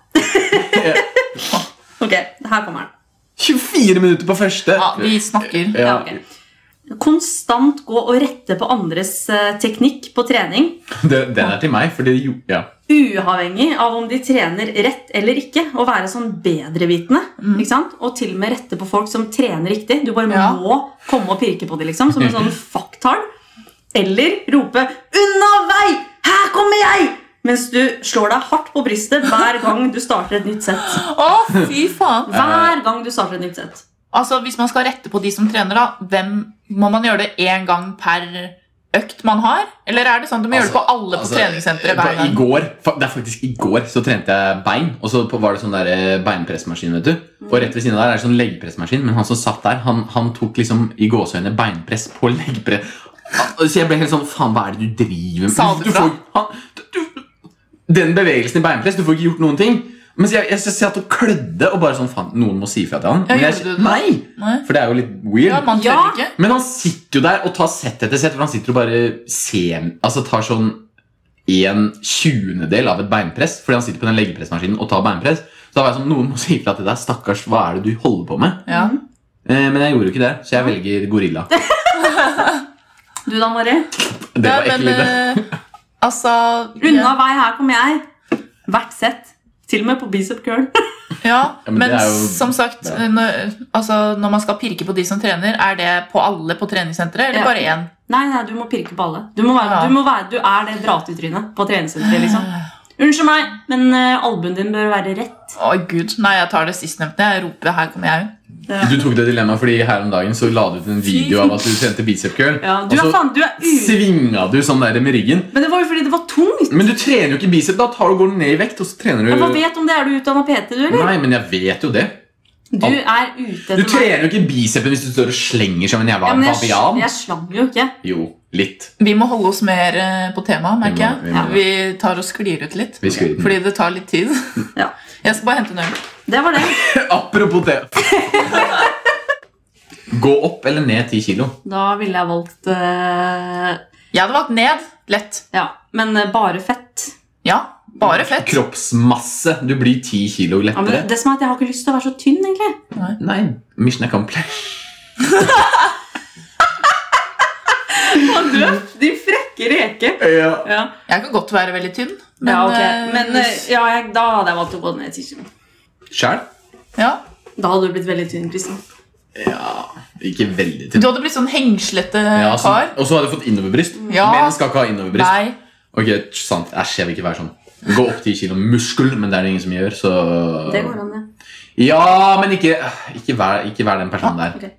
S3: ok, her kommer den.
S1: 24 minutter på første!
S4: ja, vi snakker.
S1: Ja.
S3: Ja, ok. Konstant gå og rette på andres eh, teknikk på trening,
S1: Det, den er til meg, for det jo ja.
S3: uavhengig av om de trener rett eller ikke, og være sånn bedrevitende. Ikke sant? Og til og med rette på folk som trener riktig. Du bare
S4: Mm. Ja.
S3: må komme og pirke på dem liksom, som en sånn fucktard. Eller rope 'unna vei! Her kommer jeg!' mens du slår deg hardt på brystet hver gang du starter et nytt sett.
S4: Å, fy faen!
S3: Hver gang du starter et nytt sett.
S4: Altså, Hvis man skal rette på de som trener, da, hvem må man gjøre det én gang per økt man har? Eller er det sånn at du må gjøre det på alle på
S1: Altså,
S4: treningssenteret hver
S1: på- I
S4: gang?
S1: går, fa- det er faktisk i går, så trente jeg bein. Og så på- var det sånn der eh, beinpressmaskin, vet du. Og rett ved siden av der er det sånn leggpressmaskin, men han som satt der, han, han tok liksom i gåseøynene beinpress på leggpress. Ah, Så jeg ble helt sånn Faen, hva er det du driver med?
S4: Sa han
S1: Du
S4: fra?
S1: får- han- du- Den bevegelsen i beinpress, du får ikke gjort noen ting. Mens jeg, jeg, satt og klødde og bare sånn Faen, noen må si ifra til han.
S4: Ja,
S1: Men jeg,
S4: gjorde du det?
S1: nei!
S4: Nei.
S1: For det er jo litt weird.
S4: Ja, man tør
S3: Ja.
S4: ikke.
S1: Men han sitter jo der og tar sett etter sett, for han sitter og bare ser, altså tar sånn en tjuendedel av et beinpress, fordi han sitter på den leggepressmaskinen og tar beinpress. Så da var jeg sånn, noen må si ifra til deg, stakkars, hva er det du holder på med?
S4: Ja.
S1: Eh, men jeg gjorde jo ikke det, så jeg velger gorilla.
S3: Du da, Mari?
S1: Det var
S4: Ja,
S1: ekkelt.
S4: men,
S1: det.
S4: eh, altså
S3: Unna vei, her kommer jeg. Hvert sett. Til og med på bicep curl.
S4: Ja,
S1: Ja, men
S4: men
S1: det er jo-
S4: som sagt,
S1: ja.
S4: når, altså, når man skal pirke på de som trener, er det på alle på treningssenteret, eller
S3: Ja.
S4: bare én?
S3: Nei, nei, du må pirke på alle. Du, må være,
S4: Ja.
S3: du, må være, du er det dratetrynet på treningssenteret. liksom. Unnskyld meg, men uh, albuen din bør være rett.
S4: Å, gud. Nei, jeg tar det sistnevnte. Jeg roper 'her kommer jeg'.
S3: eh,
S1: Du tok det dilemmaet, fordi her om dagen så la du ut en video av at du trente bicep curl,
S3: Ja, du
S1: og
S3: er
S1: så
S3: faen, du er u...
S1: svinga du sånn der med ryggen.
S3: Men det var jo fordi det var tungt.
S1: Men du trener jo ikke bicep, da tar du går du ned i vekt, og så trener
S3: Ja,
S1: du...
S3: Hva vet om det? Er du utdanna PT, du, eller?
S1: Nei, men jeg vet jo det.
S3: Du er ute
S1: Du
S3: etter meg.
S1: trener jo ikke bicepen hvis du står og slenger som en jævla
S3: Ja, men jeg,
S1: babian.
S3: jeg slang jo ikke.
S1: Jo, litt.
S4: Vi må holde oss mer eh, på temaet, merker jeg.
S1: Vi må- vi må
S4: Vi tar og sklir ut litt.
S1: Vi sklir ut.
S4: Fordi det tar litt tid.
S3: Ja.
S4: Jeg skal bare hente en øl.
S3: Det var det.
S1: Apropos det. Gå opp eller ned 10 kilo.
S3: Da ville jeg valgt eh,
S4: Jeg hadde valgt ned. Lett.
S3: Ja, men eh, bare fett.
S4: Ja,
S1: Mm.
S4: bare fett.
S1: Kroppsmasse. Du blir 10 kilo
S3: Ja, men
S1: lettere.
S3: det som er at Jeg har ikke lyst til å være så tynn, egentlig.
S1: Nei, Mission accomplished.
S3: Og du, din frekke reke.
S1: Ja.
S3: Ja,
S4: Jeg kan godt være veldig tynn, men,
S3: men, ja, ok.
S4: eh,
S3: men eh, ja, jeg, da hadde jeg valgt å gå ned 10 kilo.
S1: Sjæl?
S4: ja.
S3: Da hadde du blitt veldig tynn, Kristin.
S1: Ja, ikke veldig
S4: Du
S1: tynn.
S4: hadde blitt sånn hengslete
S1: Ja, sånn-
S4: kar.
S1: og så har du fått innoverbryst.
S4: Ja.
S1: Menn skal ikke ha innoverbryst.
S4: Nei.
S1: Ok, sant. Æsj, jeg vil ikke være sånn. Gå opp 10 kilo muskel, men det er det ingen som gjør, så
S3: Det går an, det.
S1: Ja, men ikke, ikke, vær, ikke vær den personen der.
S3: Ah, ok.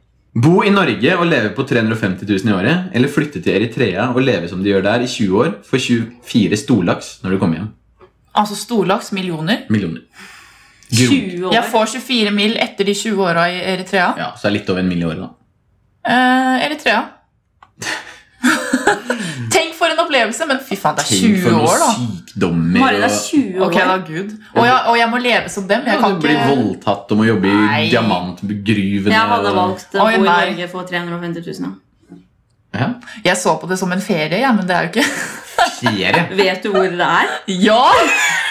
S1: Bo i Norge og leve på 350 000 i året, eller flytte til Eritrea og leve som de gjør der i 20 år for 24 storlaks når du kommer hjem.
S4: Altså storlaks millioner.
S1: Millioner. Grunn.
S3: 20 år.
S4: Jeg får 24 mil etter de 20 åra i Eritrea.
S1: Ja, så det er litt over en mill. i året, da.
S4: Eh, Eritrea. Tenk for en opplevelse, men fy faen, det er
S1: Tenk for
S4: 20 år, da.
S1: sykdommer
S3: Mari, det er
S1: og-
S3: 20 år.
S4: Ok, da, Gud. Og jeg, og jeg må leve som dem.
S1: Ja,
S4: Jeg kan
S1: Du blir
S4: ikke
S1: voldtatt og må jobbe i
S4: Nei.
S1: diamantgruvene.
S3: Jeg hadde valgt eh, å
S4: Oi,
S3: bo i
S4: nei.
S3: Norge for 350 000. ja.
S1: Og, ja,
S4: Jeg så på det som en ferie, ja, men det er jo ikke
S1: ferie.
S3: Vet du hvor det er?
S4: Ja!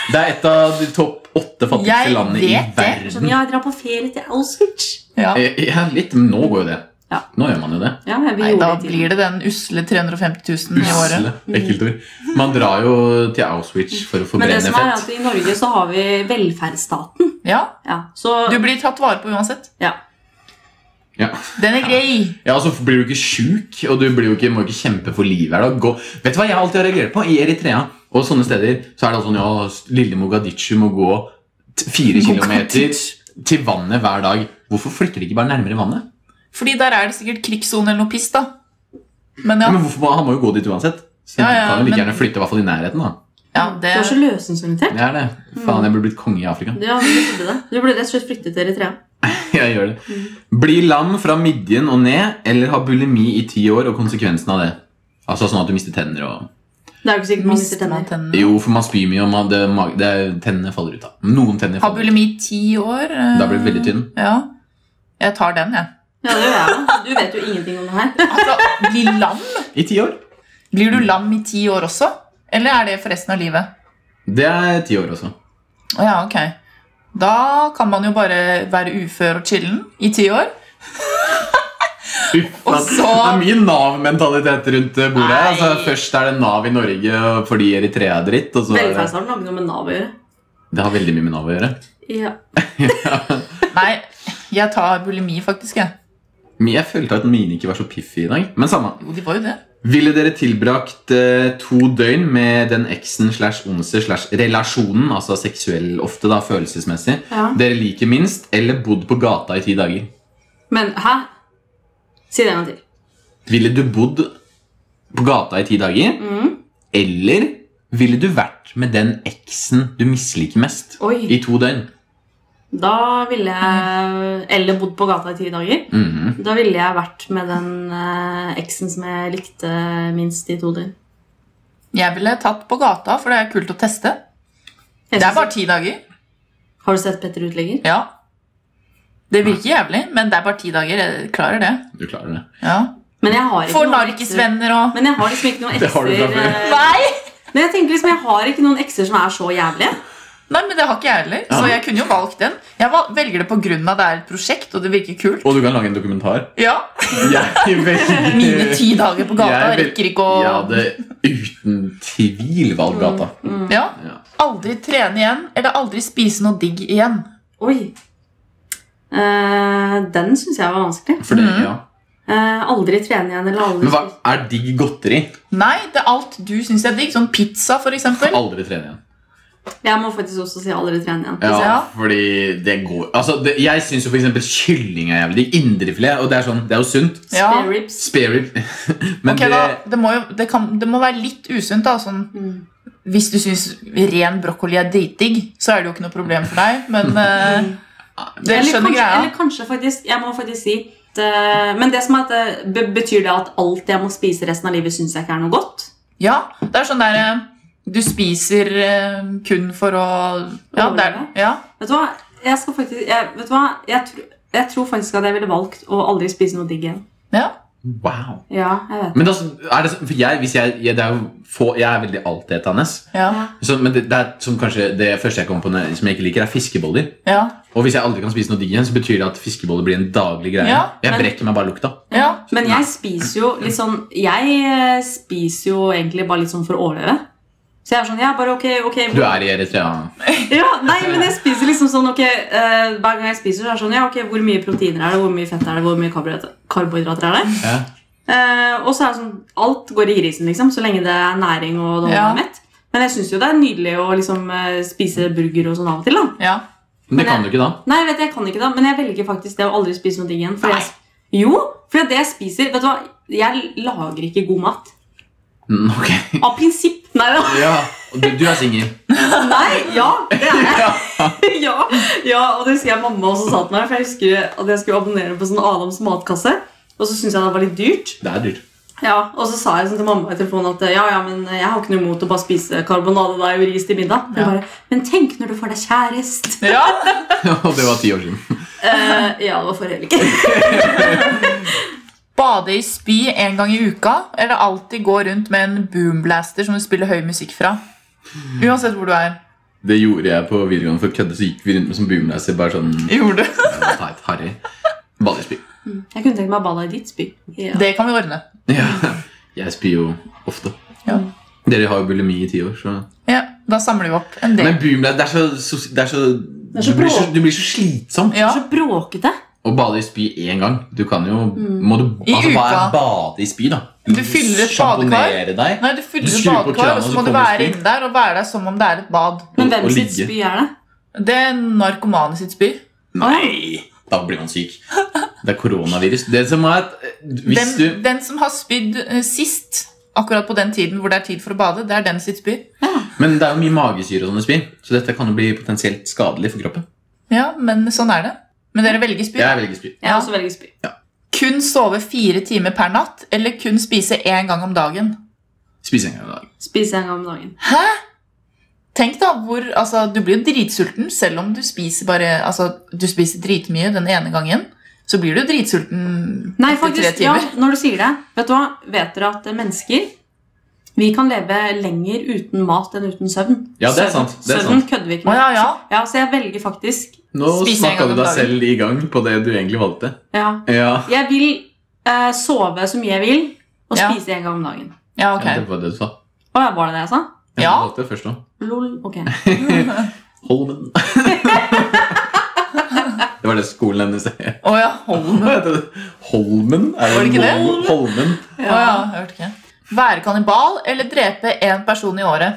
S1: Det er et av de topp åtte fattigste
S4: Jeg
S1: landene i
S4: vet det.
S1: verden.
S3: Sånn, ja, jeg drar på ferie til Auschwitz.
S4: ja.
S1: Eh, Ja, litt, men nå går jo det.
S3: Ja.
S1: Nå gjør man jo det.
S3: Ja, jeg
S4: Nei,
S3: gjorde
S4: da
S3: det til.
S4: blir det den usle 350 000 i året.
S1: Usle. Mm. Ekkelt ord. Man drar jo til Auschwitz for å
S3: Men
S1: forbrenne
S3: det som er
S1: fett.
S3: at i Norge så har vi velferdsstaten.
S4: Ja,
S3: Ja, så
S4: Du blir tatt vare på uansett.
S3: ja.
S1: Ja.
S4: Den er grei.
S1: ja, og så blir du ikke sjuk, og du blir jo ikke, må ikke kjempe for livet. her da. Gå. Vet du hva jeg alltid har reagert på? I Eritrea og sånne steder så er det sånn ja, lille Mogadishu må gå t- fire kilometer til vannet hver dag. Hvorfor flytter de ikke bare nærmere vannet?
S4: Fordi der er det sikkert krigssone eller noe piss, da. Men ja,
S1: Men hvorfor, må- Han må jo gå dit uansett. Så
S4: Ja,
S1: de
S4: ja,
S1: kan jo like
S4: men-
S1: gjerne flytte i hvert fall i nærheten. da.
S4: ja det,
S3: Du er så løsningsorientert.
S1: Det er det. Faen, jeg burde blitt konge i Afrika.
S3: Ja, du burde det. Du burde rett og slett flytte til Eritrea.
S1: Jeg gjør det. Bli lam fra midjen og ned, eller ha bulimi i ti år og konsekvensen av det. Altså sånn at du mister tenner og
S3: Det er jo ikke sikkert man mister
S4: mister man
S3: tenner.
S4: tennene.
S1: Jo, for man spyr mye, og man, det, ma- det, tennene faller ut. da Noen tenner
S4: Har
S1: faller ut.
S4: bulimi i ti år. eh,
S1: Da blir du veldig tynn.
S4: Ja. Jeg tar den, jeg.
S3: Ja, det gjør jeg. da. Du vet jo ingenting om det her.
S4: Altså, bli lam?
S1: I ti år.
S4: Blir du lam i ti år også? Eller er det for resten av livet?
S1: Det er ti år også.
S4: Å ja, ok. Da kan man jo bare være ufør og chillen i ti år.
S1: Uff,
S4: Og
S1: ass.
S4: så-
S1: Det er mye Nav-mentalitet rundt bordet. her.
S4: Nei.
S1: Altså, først er det Nav i Norge og fordi Eritrea er dritt. Og så er det,
S3: Velferdsstaten har ikke noe med Nav å gjøre.
S1: det har veldig mye med Nav å gjøre.
S3: Ja.
S4: Nei, jeg tar bulimi, faktisk. jeg.
S1: Men jeg følte at mine ikke var så piffige i dag. Men samme.
S4: Jo, de var jo det.
S1: Ville dere tilbrakt eh, to døgn med den eksen slash onse slash relasjonen, altså seksuell ofte, da, følelsesmessig,
S3: Ja.
S1: dere liker minst, eller bodd på gata i ti dager?
S3: Men hæ? Si det en gang til.
S1: Ville du bodd på gata i ti dager?
S3: Mm.
S1: Eller ville du vært med den eksen du misliker mest
S3: Oi.
S1: i to døgn?
S3: Da ville jeg Eller bodd på gata i ti dager.
S1: Mhm.
S3: Da ville jeg vært med den eh, eksen som jeg likte minst i to døgn.
S4: Jeg ville tatt på gata, for det er kult å teste.
S3: Jeg
S4: Det er
S3: synes-
S4: bare ti dager.
S3: Har du sett Petter Uteligger?
S4: Ja. Det virker jævlig, men det er bare ti dager. Jeg klarer det.
S1: Du klarer det.
S4: Ja.
S3: Men jeg har ikke
S4: Får
S3: noen ekser.
S4: narkisvenner og
S3: Men jeg har liksom ikke noen
S1: Det har
S3: ekser
S1: du fra før.
S3: eh,
S4: Nei!
S3: Men jeg tenker liksom, jeg har ikke noen ekser som er så jævlige.
S4: Nei, men det har ikke jeg heller, så
S1: Ja.
S4: jeg kunne jo valgt den. Jeg val- velger det på grunn av det er et prosjekt, og det virker kult.
S1: Og du kan lage en dokumentar.
S4: Ja,
S1: Jeg velger
S4: Mine ti dager på gata
S1: Eh, Jeg vil-
S4: rekker ikke å
S1: Jeg hadde uten tvil valgt gata.
S4: Mm. Ja.
S1: Ja.
S4: Aldri trene igjen, eller aldri spise noe digg igjen.
S3: Oi. Eh, den syns jeg var vanskelig.
S1: For det,
S4: Mhm.
S1: ja.
S3: Eh, aldri trene igjen eller aldri
S1: Men hva er digg godteri?
S4: Nei, det er alt du syns er digg, sånn pizza for eksempel.
S1: Aldri trene igjen.
S3: Jeg må faktisk også si aldri trene igjen.
S1: Ja,
S4: Ja.
S1: fordi det går Altså, det, Jeg syns jo for eksempel kylling er jævlig digg. Indrefilet. Og det er sånn, det er jo sunt.
S4: Ja.
S3: Spare ribs.
S1: Spare rib. Men
S4: Ok, da,
S1: det
S4: det, må jo, det, kan, det må være litt usunt, da. Sånn,
S3: Mm.
S4: hvis du syns ren brokkoli er dritdigg, så er det jo ikke noe problem for deg.
S1: Mm.
S4: Men eh, det
S3: Eller
S4: skjønner
S3: kanskje,
S4: greia.
S3: Eller kanskje faktisk, jeg må faktisk si det- men det som er at det, be- betyr det at alt jeg må spise resten av livet, syns jeg ikke er noe godt?
S4: Ja, det er sånn der eh, Du spiser eh, kun for å Ja, det er,
S3: Overleve?
S4: ja.
S3: Vet du hva? Jeg skal faktisk jeg, Vet du hva? Jeg, tro, jeg tror faktisk at jeg ville valgt å aldri spise noe digg igjen.
S1: Wow.
S3: Ja, jeg vet
S1: Men da, er det sånn For jeg, hvis jeg, jeg, det er jo få, jeg er veldig altetende.
S4: ja,
S1: Så, men det, det er som kanskje det første jeg kommer på når- som jeg ikke liker, er fiskeboller.
S4: ja,
S1: Og hvis jeg aldri kan spise noe digg igjen, så betyr det at fiskeboller blir en daglig greie.
S4: Ja,
S1: jeg
S3: men-
S1: brekker meg bare lukta.
S4: ja.
S3: Men jeg spiser jo litt sånn Jeg eh, spiser jo egentlig bare litt sånn for å overleve. Så jeg er sånn, ja, bare ok, ok
S1: Du er i Eritrea.
S3: ja, Nei, men jeg spiser liksom sånn, ok eh, Hver gang jeg spiser, så er det sånn, ja, ok, hvor mye proteiner er det, hvor mye fett er det, hvor mye karbohydrater- karbohydrater er det?
S1: Ja.
S3: Eh, og så er det sånn, alt går i grisen, liksom, så lenge det er næring og det holder
S4: Ja.
S3: meg mett. Men jeg syns jo det er nydelig å liksom, eh, spise burger og sånn av og til. da.
S4: ja.
S1: Men det
S3: Men
S1: kan du
S3: jeg-
S1: ikke da.
S3: Nei, jeg vet jeg kan ikke da, men jeg velger faktisk det å aldri spise noe digg igjen. For
S4: Nei.
S3: jeg, jo, for det jeg spiser Vet du hva, jeg lager ikke god mat.
S1: Mm, ok.
S3: Av prinsipp. Nei da.
S1: Ja, og du, du er singel.
S3: Nei, ja, det er jeg. ja, ja, og det husker jeg mamma også sa til meg, for jeg husker at jeg skulle abonnere på sånn Adams matkasse. Og så syntes jeg det var litt dyrt.
S1: Det er dyrt.
S3: Ja, Og så sa jeg sånn til mamma i telefonen at ja, ja, men jeg har ikke noe imot å bare spise karbonade deg og ris til middag. Hun
S4: Ja.
S3: Bare, men tenk når du får deg kjæreste!
S4: ja.
S1: Og det var ti år siden.
S3: Eh, ja, det var forrige helg.
S4: Bade i spy en gang i uka, eller alltid gå rundt med en boomblaster som du spiller høy musikk fra. Uansett hvor du er.
S1: Det gjorde jeg på videregående for å kødde, så gikk vi rundt med sånn boomlaser. Bare sånn
S4: Gjorde du?
S1: ja, teit, harry. Ballespy.
S3: Jeg kunne tenkt meg å bade i ditt spy. Ja.
S4: Det kan vi ordne.
S1: Ja. Jeg spyr jo ofte.
S4: Ja.
S1: Dere har jo bulimi i ti år, så
S4: Ja, Da samler vi opp en del.
S1: Men boomlaser, det er så, sos- det er så,
S3: er så
S1: du, blir så
S3: bra.
S1: du blir så slitsom.
S4: Ja.
S3: Så bråkete.
S1: Å bade i spy én gang Du kan jo må du,
S4: Mm. I
S1: altså, Hva er
S4: uka.
S1: bade i spy, da?
S4: Du fyller et Ah.
S1: Sjamponere deg.
S4: Nei, du
S1: Du
S4: fyller
S1: skrur på
S4: badekar,
S1: kranen,
S4: og
S1: og
S4: så
S1: så
S4: må du
S1: kommer
S4: være
S1: spy.
S4: inne der og være der som om det er et bad.
S1: Og-
S3: Men hvem
S1: og
S3: sitt
S1: ligge.
S3: spy er det?
S4: Det er narkomane sitt spy.
S1: Nei! Da blir man syk. Det er koronavirus. Det som er at eh, hvis
S4: Den,
S1: du
S4: den som har spydd eh, sist, akkurat på den tiden hvor det er tid for å bade, det er den sitt spy.
S1: Men det er jo mye magesyre og sånne spy, så dette kan jo bli potensielt skadelig for kroppen.
S4: Ja, men sånn er det. Men dere velger spy.
S1: Jeg velger spy.
S3: Jeg
S4: Ja.
S3: også velger spy.
S4: Kun sove fire timer per natt, eller kun spise én gang om dagen.
S1: Spise en gang i dag.
S3: Spise en gang om dagen.
S4: Hæ? Tenk da, hvor, altså, Du blir jo dritsulten selv om du spiser bare, altså, du spiser dritmye den ene gangen. Så blir du dritsulten
S3: Nei,
S4: etter tre
S3: faktisk, ja,
S4: timer.
S3: når du sier det Vet du hva, vet dere at eh, mennesker Vi kan leve lenger uten mat enn uten søvn.
S1: Ja, det er
S3: Søvn-
S1: sant. Det er
S3: Søvn
S1: sant.
S3: kødder vi ikke
S4: Å
S3: med.
S4: ja, ja.
S3: Ja, Så jeg velger faktisk
S1: Nå
S4: Spise en
S1: snakka du
S4: gang om
S1: deg
S4: dagen.
S1: selv i gang på det du egentlig valgte.
S3: Ja,
S1: Ja,
S3: Jeg vil eh, sove så mye jeg vil, og
S4: Ja.
S3: spise en gang om dagen.
S4: Ja, ok.
S1: ja det var det du sa.
S3: Å, ja, var det det jeg sa?
S1: Ja,
S4: Ja.
S1: Du valgte det først nå.
S3: Lol, ok.
S1: Holmen. det var det skolen hennes het.
S4: Å ja, Holmen.
S1: Hva heter det? Holmen? Er
S4: Mhm. Var det ikke det?
S1: Hol- Holmen.
S4: Å ja, jeg hørte ikke. Være kannibal eller drepe én person i året.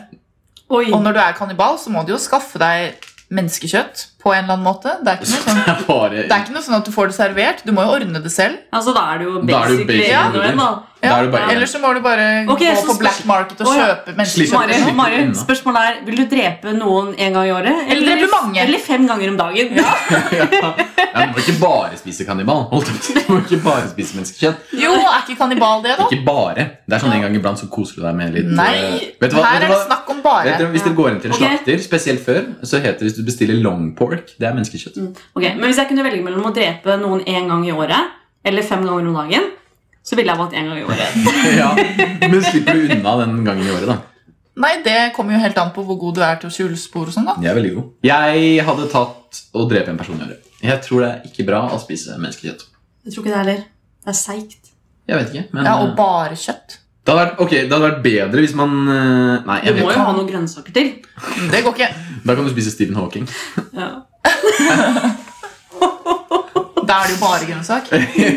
S3: Oi,
S4: Og når du er kannibal, så må du jo skaffe deg menneskekjøtt på en eller annen måte. Det er ikke noe sånn,
S1: Bare,
S4: det er ikke noe sånn at du får det servert. Du må jo ordne det selv.
S3: Altså, da er det jo
S1: Da er det jo
S3: basically
S1: basically
S3: en og en, da.
S1: Da er det bare-
S4: Eller så må du bare
S3: Ok, så
S4: gå på
S3: spørs-
S4: black market og
S3: Å, ja.
S4: kjøpe menneskekjøtt.
S3: Mari,
S1: Slipp det
S3: Mari,
S1: unna.
S3: spørsmålet er Vil du drepe noen en gang i året?
S4: Eller drepe mange?
S3: Eller fem ganger om dagen?
S1: ja, du må ikke bare spise kannibal. holdt jeg på å si. Du må ikke bare spise menneskekjøtt.
S4: Jo, er ikke kannibal det, da?
S1: Ikke bare. Det er sånn en gang iblant så koser du deg med litt
S4: Nei,
S1: eh, vet du hva,
S4: her
S1: vet
S4: er
S1: du
S4: det
S1: hva?
S4: snakk om bare.
S1: Vet dere, hvis dere går inn til en
S3: Ok.
S1: slakter, spesielt før, så heter det hvis du bestiller long pork, det er menneskekjøtt.
S3: Ok, Men hvis jeg kunne velge mellom å drepe noen en gang i året eller fem ganger om dagen, så ville jeg valgt en gang i året.
S1: ja, men slipper du unna den gangen i året, da.
S4: Nei, det kommer jo helt an på hvor god du er til å skjule spor og sånn, da.
S1: Jeg er veldig god. Jeg hadde tatt og drept en person i året. Jeg tror det er ikke bra å spise menneskekjøtt.
S3: Jeg tror ikke det heller. Det er seigt.
S1: Jeg vet ikke, men
S4: Ja,
S1: eh,
S4: Og bare kjøtt.
S1: det, hadde vært, ok, det hadde vært bedre hvis man eh, Nei,
S3: Du
S1: jeg vet
S3: må jo
S1: ikke.
S3: ha noen grønnsaker til.
S4: Det går ikke.
S1: Da kan du spise Stephen Hawking.
S3: Ja.
S4: Da er det jo bare grønnsak.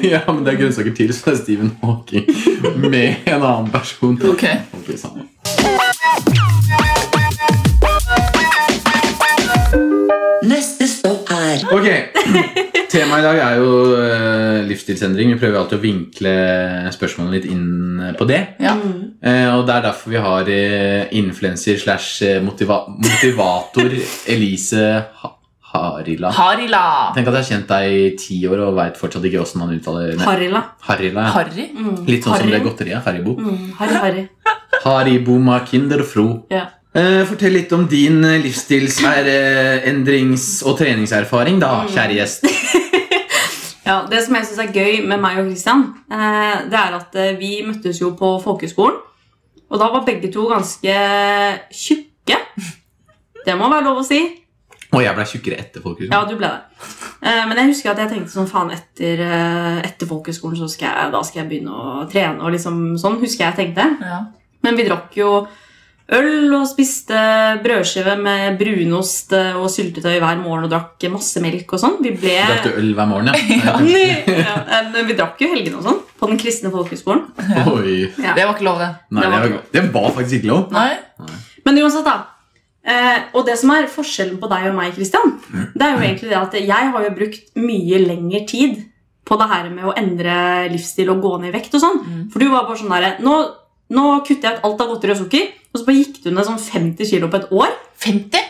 S1: ja, men det er grønnsaker til, så det er Stephen Hawking med en annen person.
S4: Ok.
S1: Ok, samme.
S2: Neste stopp er
S1: Ok, Temaet i dag er jo eh, livsstilsendring. Vi prøver alltid å vinkle spørsmålene litt inn eh, på det.
S4: Ja.
S3: Mm.
S1: Eh, og Det er derfor vi har eh, influenser slash eh, motiva motivator Elise ha Harila.
S4: Harila.
S1: Tenk at jeg har kjent deg i ti år og veit fortsatt ikke åssen man uttaler nei,
S3: Harila.
S1: Harila. ja.
S4: Harry.
S3: Mm.
S1: Litt sånn som
S4: Harry.
S1: det godteriet. Haribo.
S3: Mm. Harry, Harry.
S1: Haribo ma kinderfro.
S3: Ja.
S1: Eh, fortell litt om din eh, livsstilsendrings- og treningserfaring, da, kjære gjest.
S3: Ja, Det som jeg syns er gøy med meg og Christian, eh, det er at eh, vi møttes jo på folkehøgskolen. Og da var begge to ganske tjukke. Det må være lov å si.
S1: Og jeg ble tjukkere etter folkehøyskolen.
S3: Ja, du ble det. Eh, Men jeg husker at jeg tenkte sånn faen, etter, eh, etter folkehøgskolen så skal jeg, da skal jeg begynne å trene. og liksom sånn, husker jeg tenkte.
S4: Ja.
S3: Men vi drakk jo øl og spiste brødskive med brunost eh, og syltetøy hver morgen og drakk masse melk og sånn. Vi ble
S1: Drakk du øl hver morgen,
S4: Ja.
S1: ja?
S3: ja, eh, men vi drakk jo helgene og sånn på den kristne folkehøgskolen.
S1: Oi.
S3: Ja.
S4: Det var ikke lov, det.
S1: Nei,
S3: Det
S1: det
S3: var
S1: var, det var faktisk ikke lov.
S4: Nei.
S3: Men uansett, da. Eh, og det som er forskjellen på deg og meg, Christian, det er jo egentlig det at jeg har jo brukt mye lengre tid på det her med å endre livsstil og gå ned i vekt og sånn.
S4: Mm.
S3: For du var bare sånn derre nå, nå kutter jeg ut alt av godteri og sukker, og så bare gikk du ned sånn 50 kilo på et år.
S4: 50?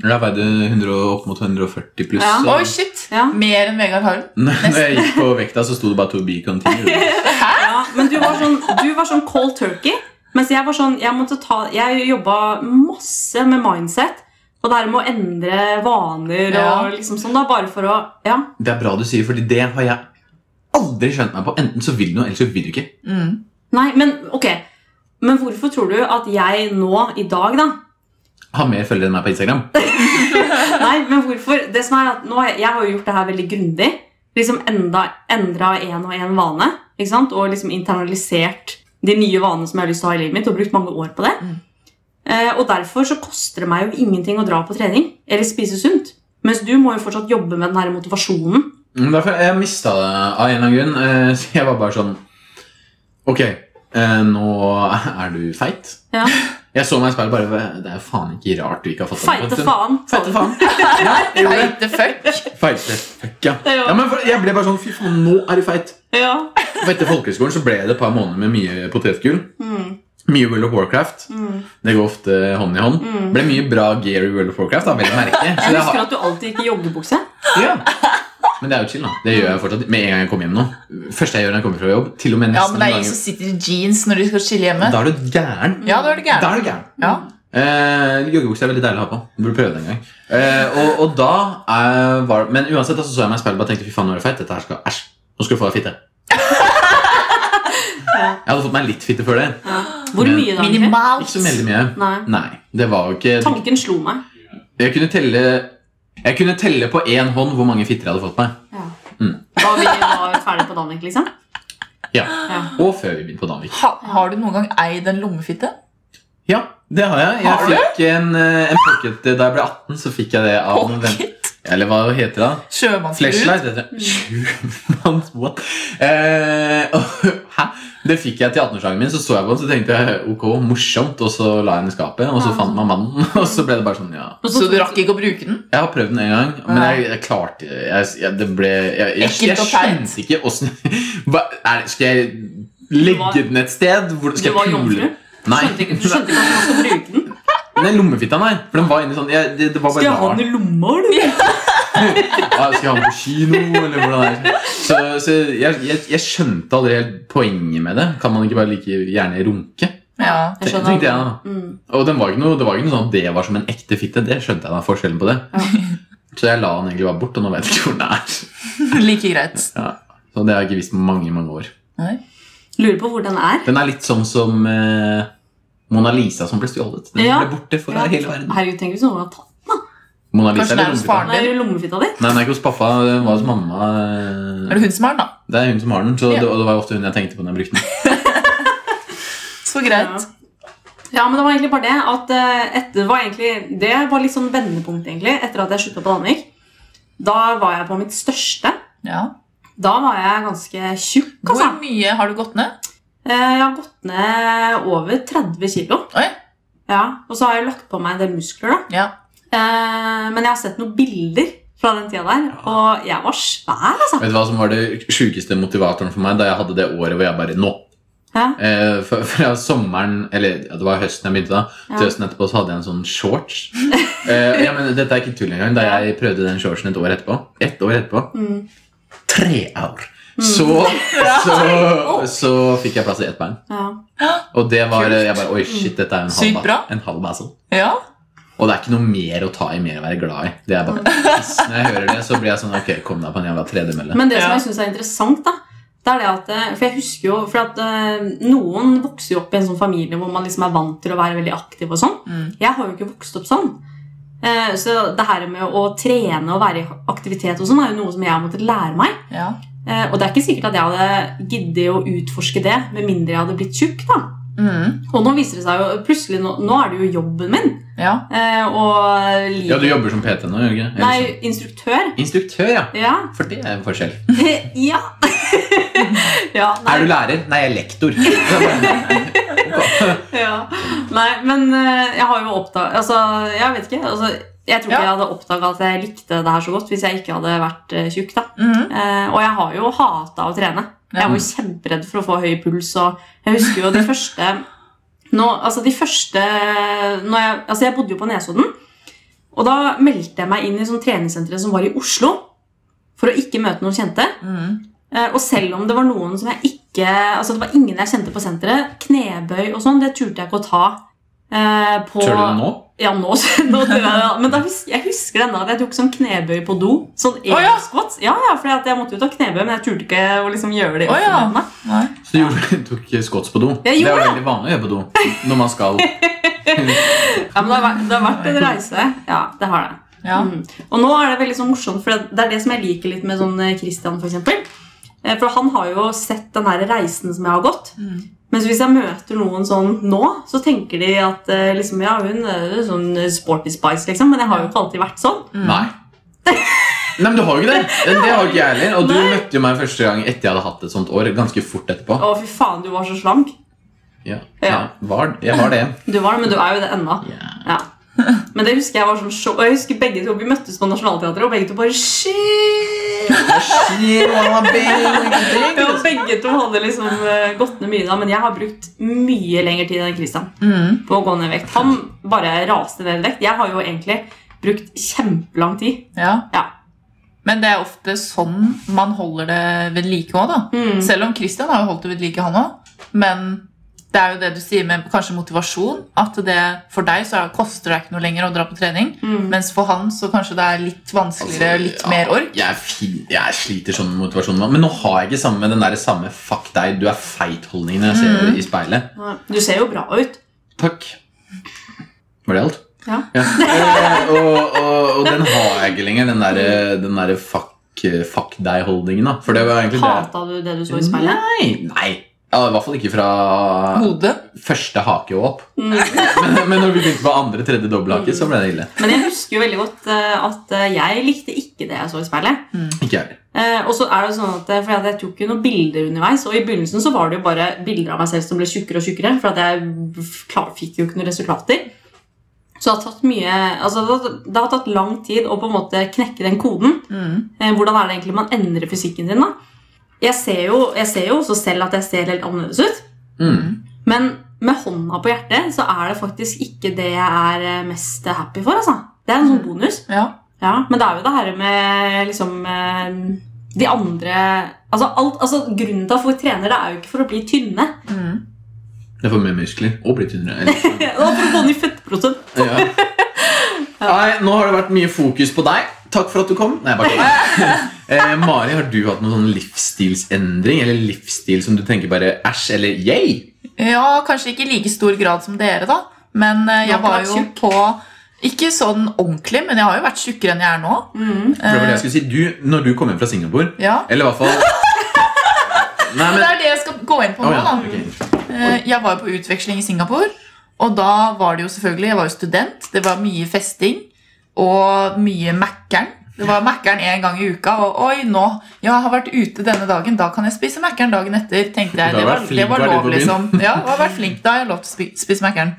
S1: Da veide 100 og opp mot 140 pluss.
S3: Ja.
S1: så-
S4: Oi, shit.
S3: Ja.
S4: Mer enn Vegard Harm.
S1: Når når jeg gikk på vekta, så sto det bare 'to be continued'.
S3: Ja, men du var sånn, du var sånn cold turkey. Mens jeg var sånn, jeg, måtte ta, jeg jobba masse med mindset. Og det her med å endre vaner
S4: Ja.
S3: og liksom sånn, da, bare for å Ja.
S1: Det er bra du sier, fordi det har jeg aldri skjønt meg på. Enten så vil du noe, eller så vil du ikke.
S4: Mm.
S3: Nei, men ok. Men hvorfor tror du at jeg nå i dag, da
S1: Ha mer følgere enn meg på Instagram.
S3: Nei, men hvorfor? Det som er at nå, har jeg- Jeg har jo gjort det her veldig grundig. Liksom enda, endra en og en vane. Ikke sant? Og liksom internalisert de nye vanene som jeg har lyst til å ha i livet mitt. Og brukt mange år på det.
S4: Mm.
S3: Eh, og derfor så koster det meg jo ingenting å dra på trening eller spise sunt. Mens du må jo fortsatt jobbe med den her motivasjonen.
S1: Mm, Derfor jeg mista det av en eller annen grunn. eh, Så jeg var bare sånn Ok, eh, nå er du feit.
S3: Ja.
S1: Jeg så meg i speilet bare Det er jo faen ikke rart du ikke har fått deg
S3: Feite faen.
S1: Feite faen. Ja, jeg gjorde det.
S4: Feite fuck.
S1: Feite fuck, ja.
S3: Ja.
S1: ja men for, jeg ble bare sånn Fy faen, nå er du feit.
S3: Ja.
S1: For etter folkehøyskolen så ble det et par måneder med mye potetgull.
S3: Mm,
S1: Mye World of Warcraft.
S3: mm,
S1: Det går ofte hånd i hånd.
S3: mm.
S1: Ble mye bra gear i World of Warcraft, da, vel å merke. Så
S3: Jeg
S1: det
S3: husker
S1: har,
S3: at du alltid gikk i joggebukse.
S1: ja. Men det er jo chill, da. Det gjør jeg fortsatt med en gang jeg kommer hjem nå. Første jeg gjør når jeg kommer fra jobb, til og med
S4: Ja, men
S1: nesten en
S4: det er
S1: gang-
S4: ingen som sitter i jeans når de skal chille hjemme.
S1: Da er du gæren.
S4: Ja, da er det
S1: Da
S4: gærent.
S1: er du gæren.
S4: Ja.
S1: Eh, Joggebukse er veldig deilig å ha på. Du burde prøve det en gang. Eh, og, og da eh, var Men uansett altså, så jeg meg i speilet og bare tenkte fy faen, nå er du feit. Dette her skal Æsj, nå skal du få deg fitte. Jeg hadde fått meg litt fitte før det.
S3: Hvor
S1: Men-
S3: mye da? egentlig?
S1: Ikke
S4: Minimalt.
S1: så veldig mye.
S3: Nei.
S1: Nei, det var jo ikke
S3: Tanken slo meg.
S1: Jeg kunne telle Jeg kunne telle på én hånd hvor mange fitter jeg hadde fått meg.
S3: Ja.
S1: Mm.
S3: Da vi var ferdig på Danvik, liksom.
S1: Ja,
S3: Ja.
S1: Og før vi begynte på Danvik.
S4: Ha, har du noen gang eid en lommefitte?
S1: Ja, det har jeg. Jeg
S4: Har du?
S1: fikk en, eh, en pocket eh, da jeg ble 18. Så fikk jeg det av noen venner.
S4: Pocket?
S1: Eller hva heter det? da?
S4: Sjømannsfrue.
S1: Flashlight heter det.
S3: Mm.
S1: Sjumanns, what? Eh, og- hæ? Det fikk jeg til 18-årsdagen min, så så jeg på den, så tenkte jeg ok, morsomt, og så la jeg den i skapet, og så fant man mannen, og så ble det bare sånn, ja.
S4: Så du rakk ikke å bruke den?
S1: Jeg har prøvd den en gang, men jeg, jeg klarte jeg, jeg, Det ble Jeg, jeg, jeg,
S4: Ekkelt og teit.
S1: skjønte ikke åssen Hva er det- Skal jeg legge den et sted? Hvor, skal
S3: Du var
S1: jeg pule?
S3: jomfru?
S1: Nei.
S3: Skjønte ikke, du skjønte ikke at man skulle bruke den?
S1: Den lommefitta der. For den var inni sånn jeg, det, det var bare
S3: Skal jeg ha den i lomma, eller?
S1: Ja, skal jeg ha den på kino, eller hvordan er det? Så, så jeg, jeg, jeg skjønte aldri helt poenget med det. Kan man ikke bare like gjerne runke?
S4: Ja.
S1: Ten- tenkte jeg da.
S3: Mm.
S1: Og den var ikke noe, det var ikke noe sånn at det var som en ekte fitte. Det skjønte jeg da, forskjellen på det. Så jeg la den egentlig bare bort, og nå vet jeg ikke hvor den er.
S4: Like greit.
S1: Så det har jeg ikke visst på mange, mange år.
S4: Nei.
S3: Lurer på hvor den er.
S1: Den er litt sånn som eh, Mona Lisa som ble stjålet. Den
S3: Ja.
S1: ble borte for
S3: Ja.
S1: hele verden.
S3: Herregud, sånn? tenk hvis noen har tatt
S1: Mona Lisa
S4: Kanskje det er
S1: eller rombefitta?
S4: hos faren
S3: den er
S4: din?
S3: i lommefitta di.
S1: Nei, den er ikke hos pappa. Den var hos mamma.
S4: Er det hun som har den, da?
S1: Det er hun som har den, så
S4: Ja.
S1: det, og det var ofte hun jeg tenkte på når jeg brukte den.
S4: Så greit.
S3: Ja, men det var egentlig bare det at eh, etter, var egentlig, Det var litt sånn vendepunkt, egentlig, etter at jeg slutta på Danvik. Da var jeg på mitt største.
S4: Ja.
S3: Da var jeg ganske tjukk, altså.
S4: Hvor mye har du gått ned?
S3: Eh, Jeg har gått ned over 30 kilo.
S4: Oi.
S3: Ja, og så har jeg lagt på meg en del muskler, da.
S4: Ja.
S3: Eh, Men jeg har sett noen bilder fra den tida der, og jeg var svær, altså.
S1: Vet du hva som var det sjukeste motivatoren for meg da jeg hadde det året hvor jeg bare Nå!
S3: Ja.
S1: Eh, fra, fra sommeren, eller ja, det var høsten jeg begynte da, til
S3: Ja.
S1: høsten etterpå så hadde jeg en sånn shorts. Eh, ja, men Dette er ikke tull engang. Da jeg prøvde den shortsen et år etterpå, ett år etterpå
S3: Mm.
S1: tre år, så, så, så fikk jeg plass i ett bein.
S3: Ja.
S1: Og det var
S4: Kult.
S1: Jeg bare Oi, shit, dette er en halv,
S4: Sykt bra.
S1: ba- en halv basil.
S4: Ja.
S1: Og det er ikke noe mer å ta i, mer å være glad i. Det er bare piss. Når jeg hører det, så blir jeg sånn Ok, kom deg på en jævla tredemølle.
S3: Men det som
S4: Ja.
S3: jeg syns er interessant, da, det er det at eh, For jeg husker jo For at eh, noen vokser jo opp i en sånn familie hvor man liksom er vant til å være veldig aktiv og sånn.
S4: Mm.
S3: Jeg har jo ikke vokst opp sånn. Eh, Så det her med å trene og være i aktivitet og sånn er jo noe som jeg har måttet lære meg.
S4: ja.
S3: Eh, Og det er ikke sikkert at jeg hadde giddet å utforske det med mindre jeg hadde blitt tjukk. da.
S4: Mm.
S3: Og nå viser det seg jo plutselig, nå, nå er det jo jobben min.
S4: Ja.
S3: eh, Og livet.
S1: Ja, du jobber som PT nå, gjør du ikke? Eller
S3: Nei, instruktør.
S1: sånn. Instruktør, ja.
S3: Ja.
S1: For det er en forskjell.
S3: ja. ja nei.
S1: Er du lærer? Nei, jeg er lektor.
S3: Ja. Nei, men eh, jeg har jo oppdaget Altså, jeg vet ikke. Altså, jeg tror ikke
S4: Ja.
S3: jeg hadde oppdaga at jeg likte det her så godt hvis jeg ikke hadde vært eh, tjukk. da.
S4: Mm.
S3: Eh, og jeg har jo hata å trene.
S4: Ja.
S3: Jeg var jo kjemperedd for å få høy puls. Og jeg husker jo de første nå, Altså de første når jeg, altså jeg bodde jo på Nesodden. Og da meldte jeg meg inn i sånn treningssenteret som var i Oslo. For å ikke møte noen kjente.
S4: Mm.
S3: Eh, og selv om det var noen som jeg ikke Altså det var ingen jeg kjente på senteret. Knebøy og sånn, det turte jeg ikke å ta. Eh, på,
S1: Tør du det nå?
S3: Ja, nå, nå tør jeg det. Men da hus, jeg husker ennå at jeg tok sånn knebøy på do. Sånn
S4: Å, ja.
S3: squats. Ja, ja, for jeg måtte jo ta knebøy, men jeg turte ikke å liksom gjøre det. i
S4: Å, ja.
S3: offentligheten, da.
S4: Nei.
S1: Så du gjorde- tok skots på do.
S3: Jeg
S1: det er
S3: gjorde
S1: jo veldig vanlig å gjøre på do når man skal
S3: ja, men det har, vært, det har vært en reise. Ja, det har det.
S4: Ja.
S3: Mm. Og nå er det veldig sånn morsomt, for det det er det som jeg liker litt med sånn eh, Christian. For, eksempel. Eh, for han har jo sett den her reisen som jeg har gått.
S4: Mm.
S3: Mens hvis jeg møter noen sånn nå, så tenker de at eh, liksom, ja, hun er sånn eh, sporty spice, liksom. Men jeg har jo ikke alltid vært sånn.
S4: Mm.
S1: Mm. Nei. Nei, men du har jo ikke det. Det har ikke jeg heller. Og du
S3: Nei.
S1: møtte jo meg første gang etter jeg hadde hatt et sånt år. Ganske fort etterpå.
S3: Å, fy faen, du var så slank.
S1: Ja,
S3: Ja.
S1: ja var, jeg var det.
S3: Du var det, men du er jo det ennå.
S1: Ja.
S3: Ja. Men det husker jeg var sånn show. Og jeg husker begge to, vi møttes på Nationaltheatret, og begge to bare shit!
S1: Shit, mamma, baby.
S3: Ja, begge to hadde liksom eh, gått ned mye da, men jeg har brukt mye lengre tid enn Christian.
S4: Mm.
S3: på å gå ned i vekt. Han bare raste ned i vekt. Jeg har jo egentlig brukt kjempelang tid.
S4: Ja.
S3: Ja.
S4: Men det er ofte sånn man holder det ved like òg, da.
S3: Mm.
S4: Selv om Christian har jo holdt det ved like, han òg. Men det er jo det du sier med kanskje motivasjon. At det for deg så er- koster det ikke noe lenger å dra på trening.
S3: Mm.
S4: Mens for han så kanskje det er litt vanskeligere,
S1: Altså,
S4: litt
S1: ja,
S4: mer ork.
S1: Jeg, er fi- jeg sliter sånn med motivasjonen. nå, Men nå har jeg ikke samme, den der samme 'fuck deg, du er feit'-holdningen jeg ser
S3: Mm.
S1: i speilet.
S3: Du ser jo bra ut.
S1: Takk. Var det alt?
S3: Ja.
S1: Eh, og, og, og den har jeg ikke lenger, den der, den der fuck, fuck deg-holdningen. da For det var egentlig det
S3: Hata du det du så i speilet?
S1: Nei, nei. Ja, I hvert fall ikke fra
S4: Hodet.
S1: første hake og opp. Men, men når vi begynte på andre, tredje dobbelthake, så ble det ille.
S3: Men jeg husker jo veldig godt eh, at eh, jeg likte ikke det jeg så i speilet.
S1: Ikke jeg heller.
S3: Eh, og så er det jo sånn at eh, fordi at Jeg tok jo noen bilder underveis, og i begynnelsen så var det jo bare bilder av meg selv som ble tjukkere og tjukkere. For at jeg klar, fikk jo ikke noen resultater. Så det har tatt mye altså det, har, det har tatt lang tid å på en måte knekke den koden.
S4: Mm.
S3: Eh, hvordan er det egentlig man endrer fysikken sin, da? Jeg ser jo, jeg ser jo også selv at jeg ser helt annerledes ut.
S1: Mm.
S3: Men med hånda på hjertet så er det faktisk ikke det jeg er eh, mest happy for. altså. Det er en sånn bonus.
S4: Ja.
S3: Ja, Men det er jo det her med liksom eh, de andre altså, alt, altså Grunnen til at folk trener, det er jo ikke for å bli tynne.
S4: Mm.
S1: Det er for mye muskler og bli tynnere. eller-
S3: Det er for å få ned fettprosent.
S1: Ja. Nei, nå har det vært mye fokus på deg. Takk for at du kom. Nei, bare kødder. eh, Mari, har du hatt noen sånn livsstilsendring eller livsstil som du tenker bare æsj eller yay?
S4: ja, kanskje ikke i like stor grad som dere, da. Men
S3: Du
S4: eh,
S3: har
S4: jeg
S3: ikke
S4: var
S3: vært
S4: jo
S3: tjukk.
S4: på Ikke sånn ordentlig, men jeg har jo vært tjukkere enn jeg er nå.
S1: For
S3: Mm.
S1: det var det jeg skulle si. Du, når du kom hjem fra Singapore
S4: Ja.
S1: Eller i hvert fall Nei,
S4: Men
S1: men
S4: det er det jeg skal gå inn på
S1: Å,
S4: nå, da.
S1: ja. ok.
S4: Eh, Jeg var jo på utveksling i Singapore, og da var det jo selvfølgelig Jeg var jo student, det var mye festing og mye Mækkern. Det var Mækkern én gang i uka, og oi, nå Jeg har vært ute denne dagen, da kan jeg spise Mækkern dagen etter, tenkte jeg.
S1: Du har
S4: Det var,
S1: vært flink,
S4: det var
S1: var det på
S4: lov,
S1: byen?
S4: liksom. Ja, jeg har vært flink, da har jeg lov til å spi- spise Mækkern.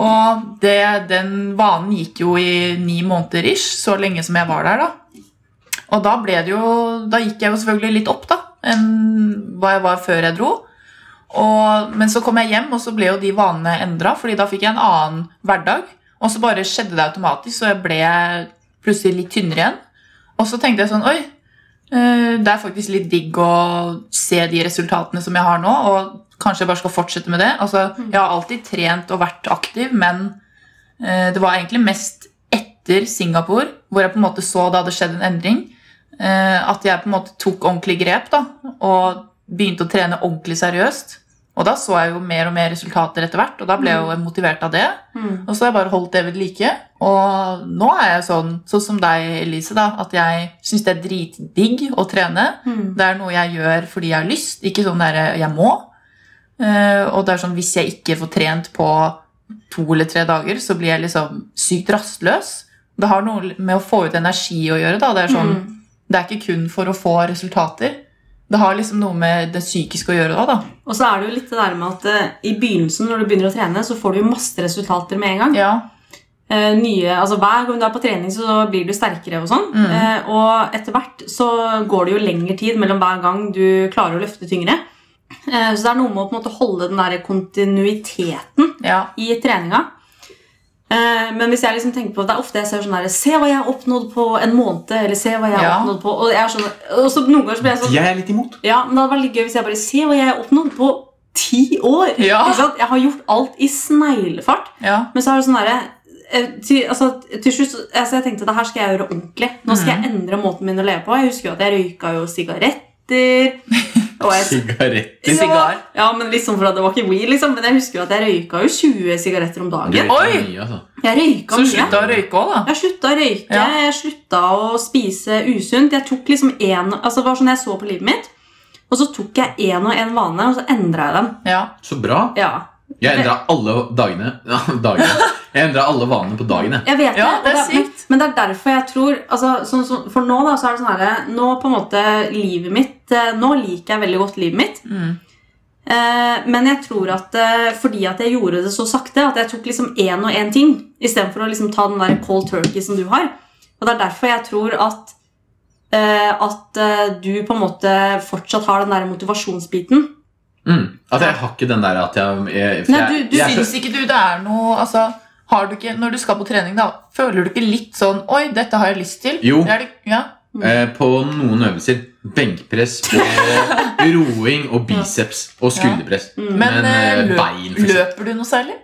S4: Og det, den vanen gikk jo i ni måneder ish, så lenge som jeg var der, da. Og da ble det jo Da gikk jeg jo selvfølgelig litt opp, da, enn hva jeg var før jeg dro. Og, men så kom jeg hjem, og så ble jo de vanene endra, fordi da fikk jeg en annen hverdag. Og så bare skjedde det automatisk, og jeg ble plutselig litt tynnere igjen. Og så tenkte jeg sånn Oi, eh, det er faktisk litt digg å se de resultatene som jeg har nå, og kanskje jeg bare skal fortsette med det. Altså, jeg har alltid trent og vært aktiv, men eh, det var egentlig mest etter Singapore, hvor jeg på en måte så det hadde skjedd en endring, eh, at jeg på en måte tok ordentlig grep da, og begynte å trene ordentlig seriøst. Og da så jeg jo mer og mer resultater etter hvert, og da ble jeg jo motivert av det.
S3: Mm.
S4: Og så har jeg bare holdt det ved like. Og nå er jeg sånn, sånn som deg, Elise, da, at jeg syns det er dritdigg å trene.
S3: Mm.
S4: Det er noe jeg gjør fordi jeg har lyst, ikke sånn der jeg må. Eh, og det er sånn, hvis jeg ikke får trent på to eller tre dager, så blir jeg liksom sykt rastløs. Det har noe med å få ut energi å gjøre. da. Det er sånn,
S3: Mm.
S4: det er ikke kun for å få resultater. Det har liksom noe med det psykiske å gjøre òg, da.
S3: Og så er det jo litt det der med at eh, i begynnelsen, når du begynner å trene, så får du jo masse resultater med en gang.
S4: Ja.
S3: eh, nye, altså Hver gang du er på trening, så blir du sterkere. Og sånn.
S4: Mm.
S3: Eh, og etter hvert så går det jo lengre tid mellom hver gang du klarer å løfte tyngre. Eh, så det er noe med å på en måte holde den der kontinuiteten
S4: ja.
S3: i treninga. Eh, men hvis jeg liksom tenker på det er ofte jeg ser sånn der, Se hva jeg har oppnådd på en måned. Eller se hva jeg har
S4: Ja.
S3: oppnådd på Og, jeg er sånn, og så noen ganger så blir jeg sånn
S1: Jeg er litt imot.
S3: Ja, men det hadde vært litt gøy hvis jeg bare Se hva jeg har oppnådd på ti år!
S4: Ja.
S3: Ikke sant? Jeg har gjort alt i sneglefart.
S4: ja.
S3: Men så er det sånn derre eh, til, altså, til slutt så- altså, Jeg tenkte det her skal jeg gjøre ordentlig. Nå skal jeg endre måten min å leve på. Jeg husker jo at jeg røyka jo sigaretter. Og jeg,
S1: Sigaretter.
S4: Til sigar.
S3: ja, men liksom for at det var ikke weed, liksom. Men jeg husker jo at jeg røyka jo 20 sigaretter om
S1: Du
S3: dagen.
S1: røyker
S4: Oi!
S1: mye, altså.
S3: Jeg røyka
S4: Så
S3: mye.
S4: slutta å røyke òg, da.
S3: Jeg slutta å røyke,
S4: Ja.
S3: jeg slutta å spise usunt. Jeg tok liksom en, altså det var sånn jeg så på livet mitt. Og så tok jeg én og én vane, og så endra jeg den.
S4: Ja.
S1: Så bra.
S3: Ja,
S1: Jeg endra alle dagene Ja, dagene. Jeg endra alle vanene på dagene.
S3: Jeg vet
S4: Ja, det er
S3: og men-
S4: sykt.
S3: Men det er derfor jeg tror altså, sånn som- For nå da, så er det sånn her Nå på en måte livet mitt eh, Nå liker jeg veldig godt livet mitt.
S4: Mm.
S3: Eh, men jeg tror at eh, fordi at jeg gjorde det så sakte, at jeg tok liksom én og én ting istedenfor å liksom ta den der cold turkey som du har. Og det er derfor jeg tror at eh, at eh, du på en måte fortsatt har den der motivasjonsbiten.
S1: Mm. At jeg har ikke den der at jeg, jeg, for
S3: Nei,
S1: jeg,
S3: du
S1: jeg er så-
S4: Syns ikke du det er noe altså, har du ikke, Når du skal på trening, da, føler du ikke litt sånn Oi, dette har jeg lyst til.
S1: Jo.
S4: Er det, ja.
S1: Eh, på noen øvelser. Benkpress og roing og biceps og skulderpress.
S3: Mm.
S4: Men,
S1: Men,
S4: eh,
S1: eh,
S4: løp,
S1: bein, for eksempel.
S4: løper du noe særlig?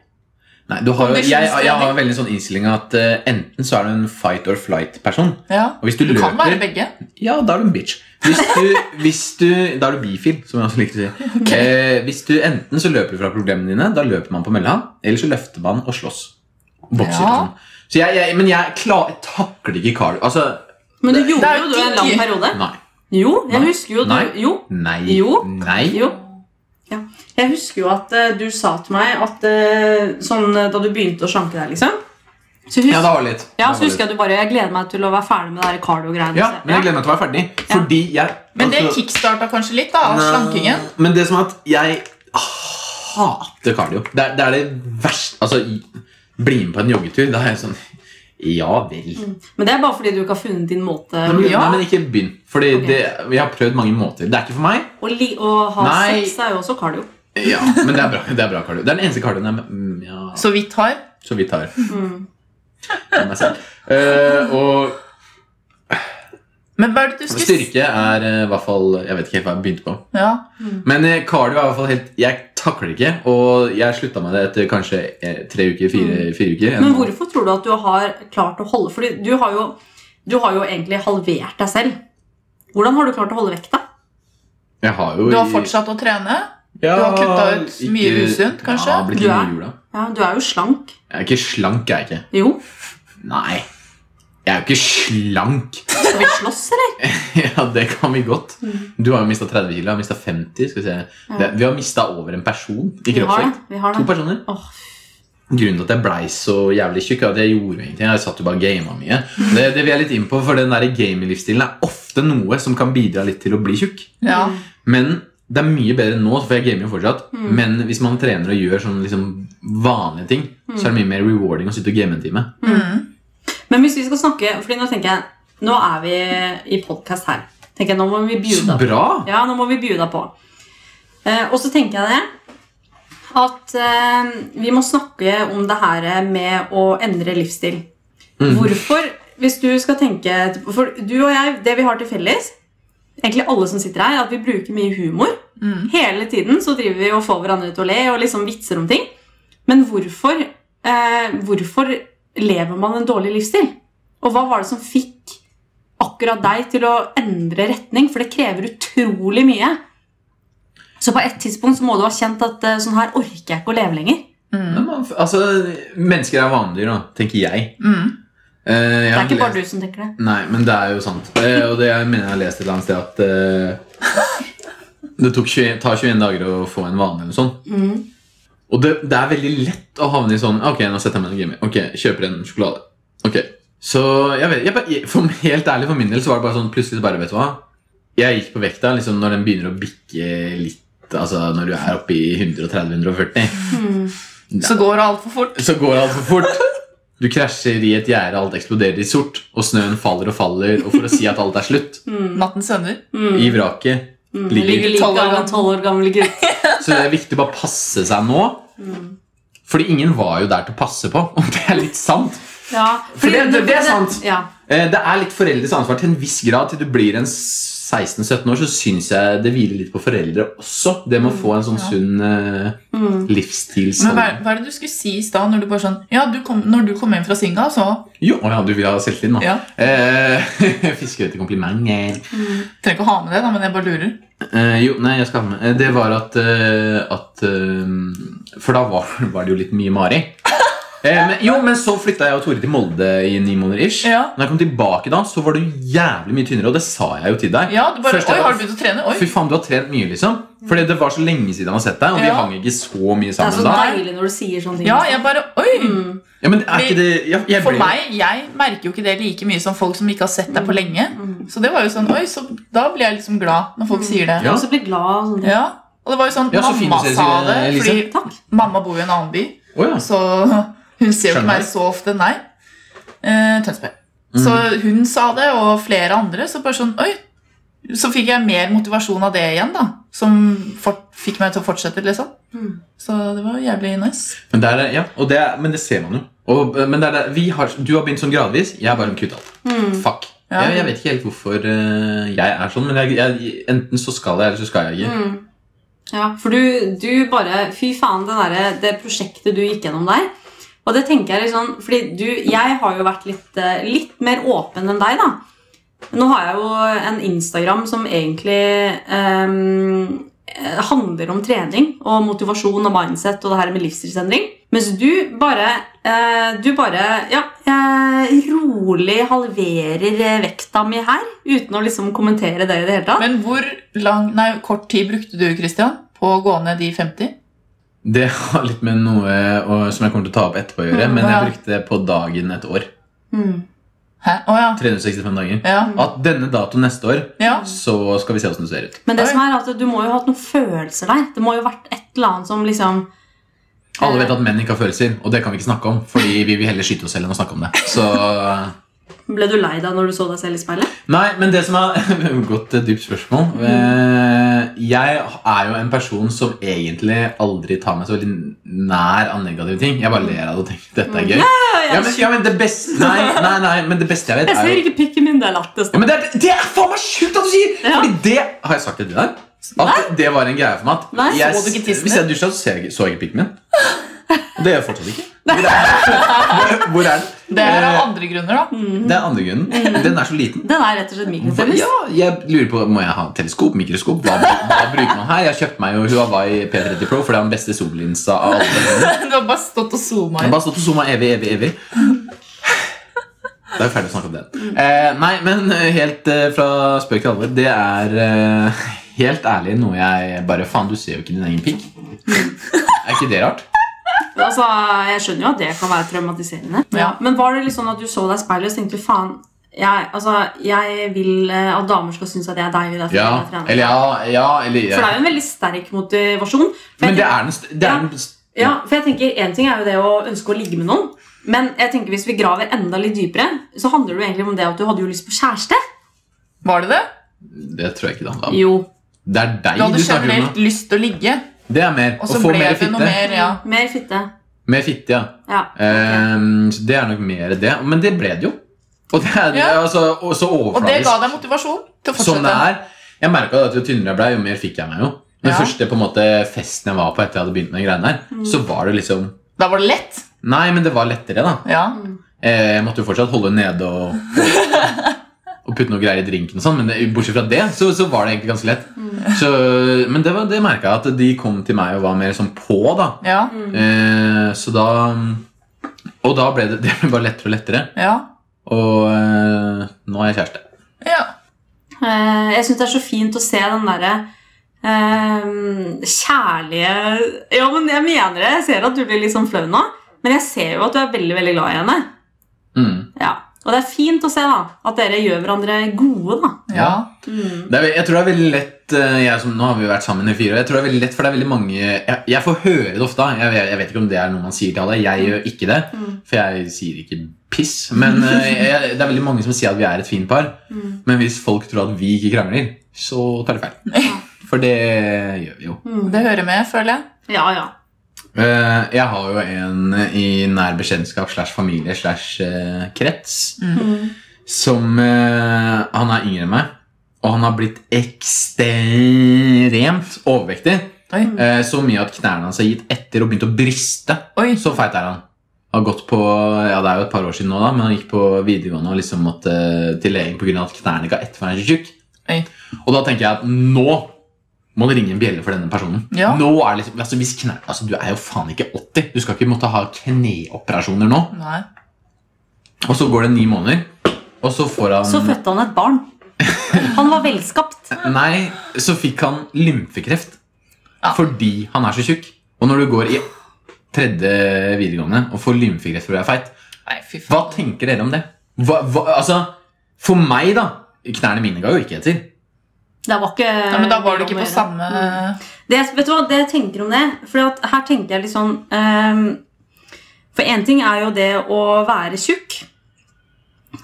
S1: Nei, du har, jo- jeg, jeg har
S4: Kondisjonstrening.
S1: veldig sånn innstilling at eh, enten så er du en fight or flight-person.
S4: Ja.
S1: Og hvis du,
S4: Du kan være
S1: løper,
S4: begge.
S1: ja, da er du en bitch. Hvis du, hvis du, da er du bifil, som jeg også liker å si. Eh, hvis du enten så løper du fra problemene dine, da løper man på mella, eller så løfter man og slåss. Bokser. og
S4: Ja.
S1: Sånn. Så jeg, jeg, men jeg, klar, jeg takler ikke cardio. Altså,
S3: Men du gjorde
S4: det er jo
S3: jo det en lang
S4: digg.
S3: periode.
S1: nei.
S3: Jo, jeg
S1: Nei.
S3: husker jo du
S1: Nei.
S3: Jo.
S1: Nei.
S3: Jo.
S1: Nei.
S3: jo. Jeg husker jo at eh, du sa til meg at eh, sånn eh, da du begynte å slanke deg, liksom Så husker,
S1: Ja,
S3: ja,
S1: det var litt.
S3: så husker jeg at du bare Jeg gleder meg til å være ferdig med det der cardio-greiene.
S1: Ja, men jeg gleder meg til å være ferdig. Fordi jeg
S4: Men det
S1: altså-
S4: kickstarta kanskje litt da, av
S1: Nei,
S4: slankingen.
S1: Men det som er at jeg hater kardio. Det er det, er det verste Altså, i- bli med på en joggetur. Da er jeg sånn Ja vel.
S3: Men det er bare fordi du ikke har funnet din måte
S1: Nei, men,
S4: Mm. Ja.
S1: nei, men ikke begynn. Fordi
S3: Ok.
S1: det, vi har prøvd mange måter. Det er ikke for meg.
S3: å, li å ha
S1: Nei.
S3: sex er jo også cardio.
S1: Ja, Men det er bra, det er bra kardio. Det er den eneste kardioen jeg mm, ja,
S4: Så vidt har.
S1: så vidt har.
S3: Mm.
S1: for meg selv. Eh, og
S4: Men hva er det du skulle
S1: styrke er eh, i hvert fall Jeg vet ikke helt hva jeg begynte på.
S4: Ja.
S1: Men eh, cardio er i hvert fall helt Jeg takler det ikke, og jeg slutta med det etter kanskje eh, tre uker, fire,
S4: Mm.
S1: fire uker.
S3: Men hvorfor tror du at du har klart å holde Fordi du har jo, du har jo egentlig halvert deg selv. Hvordan har du klart å holde vekta?
S1: Jeg har jo
S4: Du har
S1: i-
S4: fortsatt å trene.
S1: Ja,
S4: Du har kutta ut mye usunt, kanskje?
S1: Ja, blitt
S3: Du
S1: mye
S3: er?
S1: jula.
S3: Ja, du er jo slank.
S1: Jeg er ikke slank, jeg er ikke.
S3: Jo.
S1: Nei. Jeg er jo ikke slank.
S3: Skal vi slåss, eller?
S1: ja, det kan vi godt.
S4: Mm.
S1: Du har jo mista 30 kilo, jeg har mista 50. Skal vi se. Det, vi har mista over en person i
S3: Vi har det.
S1: kroppsvekt.
S3: Vi har
S1: To
S3: det.
S1: personer.
S3: Åh,
S1: Grunnen til at jeg blei så jævlig tjukk, er at jeg gjorde ingenting. Jeg satt jo bare og gama mye. Det, det vil jeg litt inn på, for den der gaminglivsstilen er ofte noe som kan bidra litt til å bli tjukk.
S4: Ja.
S1: Mm. Men det er mye bedre nå, for jeg gamer jo fortsatt.
S3: Mm.
S1: Men hvis man trener og gjør sånne liksom vanlige ting,
S3: Mm.
S1: så er det mye mer rewarding å sitte og game en time.
S4: Mm.
S3: Men hvis vi skal snakke fordi nå tenker jeg Nå er vi i podkast her. Tenker jeg, Nå må vi
S1: Så
S3: bjuda på.
S1: bra!
S3: Ja, nå må vi bjuda på. Eh, og så tenker jeg det at eh, vi må snakke om det her med å endre livsstil.
S1: Mhm.
S3: Hvorfor, hvis du skal tenke For du og jeg, det vi har til felles, egentlig alle som sitter her, er at vi bruker mye humor.
S4: Mm.
S3: Hele tiden så driver vi og får hverandre til å le og liksom vitser om ting. Men hvorfor, eh, hvorfor lever man en dårlig livsstil? Og hva var det som fikk akkurat deg til å endre retning? For det krever utrolig mye. Så på et tidspunkt så må du ha kjent at eh, sånn her orker jeg ikke å leve lenger.
S1: Men
S4: Mm.
S1: man, altså, mennesker er vanedyr, da, tenker jeg. Eh,
S4: Mm.
S3: Det er ikke bare du som tenker det.
S1: Nei, men det er jo sant. Eh, Og det jeg mener jeg har lest et eller annet sted at eh, det tok 21, tar 21 dager å få en vane eller sånn.
S3: Mm.
S1: Og det, det er veldig lett å havne i sånn Ok, nå setter jeg meg en gamer. Ok, kjøper en sjokolade. Ok, Så jeg vet jeg, bare- jeg, for, Helt ærlig, for min del så var det bare sånn plutselig så bare, vet du hva Jeg gikk på vekta liksom når den begynner å bikke litt. Altså når du er oppe i 130-140,
S3: Mm.
S4: Så går det altfor fort.
S1: så går det altfor fort. Du krasjer i et gjerde, alt eksploderer i sort, og snøen faller og faller, og for å si at alt er slutt
S3: Mm.
S4: Natten sønner.
S3: Mm.
S1: i vraket.
S3: Mm.
S1: ligger-
S3: Ligger like
S4: Tolv år
S3: av en
S4: gammel.
S3: tolv år gammel gutt.
S1: Så det er viktig å bare passe seg nå.
S3: Mm.
S1: Fordi ingen var jo der til å passe på, og det er litt sant.
S3: Ja,
S1: For det- det- det er sant.
S3: Ja.
S1: Eh, Det er litt foreldres ansvar til en viss grad. Til du blir en 16-17 år, så syns jeg det hviler litt på foreldre også. Det med å få en sånn
S4: Ja.
S1: sunn eh,
S3: Mm.
S4: Men hva,
S1: livsstilsholdning.
S4: hva er det du skulle si i stad når du bare sånn Ja, du kom, når du kom hjem fra Singa, så
S1: Jo, å ja, du vil ha selvtillit nå?
S4: Ja.
S1: Eh, Fisker etter komplimenter.
S3: Mm.
S4: Trenger ikke å ha med det, da, men jeg bare lurer.
S1: Eh, jo, nei, jeg skal ha med eh, Det var at, eh, at eh, For da var, var det jo litt mye Mari. Eh, men, jo, men så flytta jeg og Tore til Molde i ni måneder ish.
S4: Ja.
S1: Når jeg kom tilbake da, så var du jævlig mye tynnere, og det sa jeg jo til deg.
S4: Ja, du bare
S1: Først jeg
S4: Oi,
S1: var-
S4: har du begynt å trene?
S1: Fy
S4: Oi.
S1: faen, du har trent mye, liksom. Fordi det var så lenge siden jeg har sett deg, og vi
S4: Ja.
S1: hang ikke så mye
S3: Det er
S1: sammen
S3: så
S1: da.
S3: deilig når du sier sånne ting.
S4: Ja, jeg bare Oi!
S3: Mm.
S1: Ja, men er ikke det jeg, jeg
S4: For
S1: ble-
S4: meg, jeg merker jo ikke det like mye som folk som ikke har sett deg på lenge.
S3: Mm.
S4: Så det var jo sånn Oi, så da blir jeg liksom glad når folk sier
S1: Ja.
S4: det.
S3: Og så blir glad og sånne ting.
S4: Ja. Og det var jo sånn
S1: Ja, så fint
S4: Mamma
S1: du ser-
S4: sa det,
S1: sier det, Elise.
S4: fordi mamma bor jo i en annen by.
S1: Å ja.
S4: Så hun ser jo
S1: Skjønner.
S4: ikke meg så ofte, nei. Eh, Tønsberg. Så
S1: Mm.
S4: hun sa det, og flere andre. Så bare sånn, oi, så fikk jeg mer motivasjon av det igjen, da. Som fort, fikk meg til å fortsette, liksom.
S3: Mm.
S4: Så det var jævlig nice.
S1: Men, der, er- ja, og det, er- men det ser man jo. Og, eh, men det er det, vi har, du har begynt sånn gradvis, jeg har bare kutta alt.
S3: Mm.
S1: Fuck.
S4: Hmm. Ja.
S1: Jeg, jeg vet ikke helt hvorfor eh, jeg er sånn, men jeg, jeg, enten så skal jeg, eller så skal jeg ikke.
S4: Hmm.
S3: Mm. Ja, for du, du bare Fy faen, det, derre- det prosjektet du gikk gjennom der. Og det tenker jeg litt sånn Fordi du, jeg har jo vært litt, eh, litt mer åpen enn deg, da. Nå har jeg jo en Instagram som egentlig ehm, eh, handler om trening og motivasjon og mindset og det her med livsstilsendring. Mens du bare, eh, du bare ja, eh, rolig halverer eh, vekta mi her uten å liksom kommentere det i det hele tatt.
S4: Men hvor lang, nei, kort tid brukte du, Christian, på å gå ned de 50?
S1: Det har litt med noe å- som jeg kommer til å ta opp etterpå å gjøre,
S4: Mm,
S1: men
S4: ja.
S1: jeg brukte på dagen et år.
S3: Mm.
S4: Hæ? Å ja.
S1: 365 dager.
S4: Ja.
S1: At denne datoen neste år,
S4: ja.
S1: så skal vi se åssen det ser ut.
S3: Men det
S4: Oi.
S3: som er at du må jo ha hatt noen følelser der. Det må jo ha vært et eller annet som liksom
S1: Alle vet at menn ikke har følelser, og det kan vi ikke snakke om. Fordi vi vil heller skyte oss selv enn å snakke om det. Så
S3: Ble du lei deg når du så deg selv i speilet?
S1: Nei, men det som er Godt eh, dypt spørsmål. Eh, Jeg er jo en person som egentlig aldri tar meg så veldig nær av negative ting. Jeg bare ler av det og tenker dette er gøy. Ja, men, ja, men det beste Nei, nei, nei, men det beste jeg vet,
S3: Jeg
S1: er jo
S3: ser ikke pikken min, det er lættis.
S1: Ja, men det er, det er faen meg sjukt at du sier!
S3: Ja.
S1: Fordi det, Har jeg sagt det til deg? At det var en greie for meg. At
S3: Nei,
S1: jeg,
S4: så du ikke tissen
S1: hvis jeg dusja, så ser jeg ikke- så jeg ikke pikken min. Det gjør jeg fortsatt ikke. Hvor er den? Hvor er den?
S4: Det er av
S1: Eh,
S4: andre grunner, da.
S1: det er andre grunnen. Den er så liten.
S3: Den er rett og slett
S1: Hva-
S3: mikrofonus.
S1: Ja, jeg lurer på, Må jeg ha teleskop? Mikroskop? Hva, hva bruker man her? Jeg kjøpte meg jo Huawei P30 Pro, for det er den beste sollinsa av alle.
S4: Du har bare stått og zooma
S1: Jeg
S4: inn.
S1: bare stått og zooma evig, evig, evig. Da er vi ferdig å snakke om den. Eh, nei, men eh, helt eh, fra spøk til alvor. Det er eh, helt ærlig noe jeg bare Faen, du ser jo ikke din egen pikk. Er ikke det rart?
S3: Altså, Jeg skjønner jo at det kan være traumatiserende.
S4: Ja.
S3: Men var det litt sånn at du så deg i speilet og så tenkte du, faen jeg, altså, jeg vil eh, at damer skal synes at jeg er deilig. Derfor
S1: Ja.
S3: jeg er trener.
S1: Eller ja, ja eller
S3: For det
S1: ja.
S3: er jo en veldig sterk motivasjon. For
S1: Men
S3: jeg
S1: det er den, st- det er den st-
S3: Ja, for jeg tenker En ting er jo det å ønske å ligge med noen, men jeg tenker hvis vi graver enda litt dypere, så handler det jo egentlig om det at du hadde jo lyst på kjæreste.
S4: Var det det?
S1: Det tror jeg ikke det handler om.
S3: Jo.
S1: Det er
S4: Du
S1: deg
S4: hadde
S1: du snakker om.
S4: generelt lyst til å ligge,
S1: nå. Det er mer.
S4: og
S1: Å
S4: så
S1: få
S4: ble
S1: mer
S4: det noe
S1: fitte.
S4: mer. ja.
S3: Mm, Mer fitte.
S1: Mer fitte, ja.
S3: Ja.
S1: Ehm, så det er nok mer det. Men det ble det jo. Og det er
S4: Ja.
S1: altså, og så
S4: Og det
S1: overfladisk.
S4: ga deg motivasjon til å
S1: Sånn det
S4: fortsette.
S1: er. Jeg merka at jo tynnere jeg ble, jo mer fikk jeg meg. jo Den
S4: Ja.
S1: første på en måte festen jeg var på etter jeg hadde begynt med de greiene her,
S4: Mm.
S1: så var det liksom
S4: Da var det lett.
S1: Nei, men det var lettere, da.
S4: Ja.
S1: Eh, Jeg måtte jo fortsatt holde nede og, og putte noe greier i drinken og sånn, men det, bortsett fra det, så, så var det egentlig ganske lett.
S4: Mm.
S1: Så, men det, var- det merka jeg at de kom til meg og var mer sånn på, da.
S4: Ja.
S1: Eh, så da Og da ble det, det ble bare lettere og lettere.
S4: Ja.
S1: Og eh, nå er jeg kjæreste.
S4: ja.
S3: Eh, jeg syns det er så fint å se den derre eh, kjærlige Ja, men jeg mener det. Jeg ser at du blir litt sånn flau nå, men jeg ser jo at du er veldig, veldig glad i henne.
S1: Mm.
S3: Ja. Og det er fint å se da, at dere gjør hverandre gode, da.
S4: ja. Mm.
S1: Det er, ve- jeg tror det er veldig lett eh, jeg som, Nå har vi jo vært sammen i fire år. Jeg tror det er veldig lett, for det er veldig mange Jeg, jeg får høre det ofte. da. Jeg, jeg, jeg vet ikke om det er noe man sier til alle. Jeg gjør ikke det,
S3: Mm.
S1: for jeg sier ikke piss. Men eh, jeg, det er veldig mange som sier at vi er et fint par.
S3: Mm.
S1: Men hvis folk tror at vi ikke krangler, så tar de feil.
S3: Ja.
S1: For det gjør vi jo.
S3: Mm.
S4: Det hører med, føler jeg.
S3: Ja, ja.
S1: Eh, Jeg har jo en i nær bekjentskap slash familie slash eh, krets
S3: Mm.
S1: som eh, Han er yngre enn meg, og han har blitt ekstremt overvektig.
S4: Oi.
S1: Eh, så mye at knærne hans har gitt etter og begynt å briste.
S4: Oi.
S1: Så feit er han. Har gått på, ja Det er jo et par år siden nå, da, men han gikk på videregående og liksom måtte til legen pga. at knærne ikke har ett for han er så tjukk.
S4: Oi.
S1: Og da tenker jeg at nå må det ringe en bjelle for denne personen.
S4: Ja.
S1: Nå er det liksom, altså hvis knær, altså Du er jo faen ikke 80. Du skal ikke måtte ha kneoperasjoner nå.
S4: Nei.
S1: Og så går det ni måneder, og så får han
S3: Så fødte han et barn. Han var velskapt.
S1: Nei, så fikk han lymfekreft
S4: Ja.
S1: fordi han er så tjukk. Og når du går i tredje videregående og får lymfekreft for å være feit,
S4: Nei, fy
S1: hva
S4: faen.
S1: tenker dere om det? Hva, hva, altså, For meg, da Knærne mine ga jo ikke etter.
S3: Det var ikke
S4: Nei, men da var du
S3: mye
S4: ikke
S3: om å
S4: på
S3: gjøre. Mm.
S4: samme
S3: Det, vet du hva, det jeg tenker om det For at her tenker jeg litt sånn ehm, For en ting er jo det å være tjukk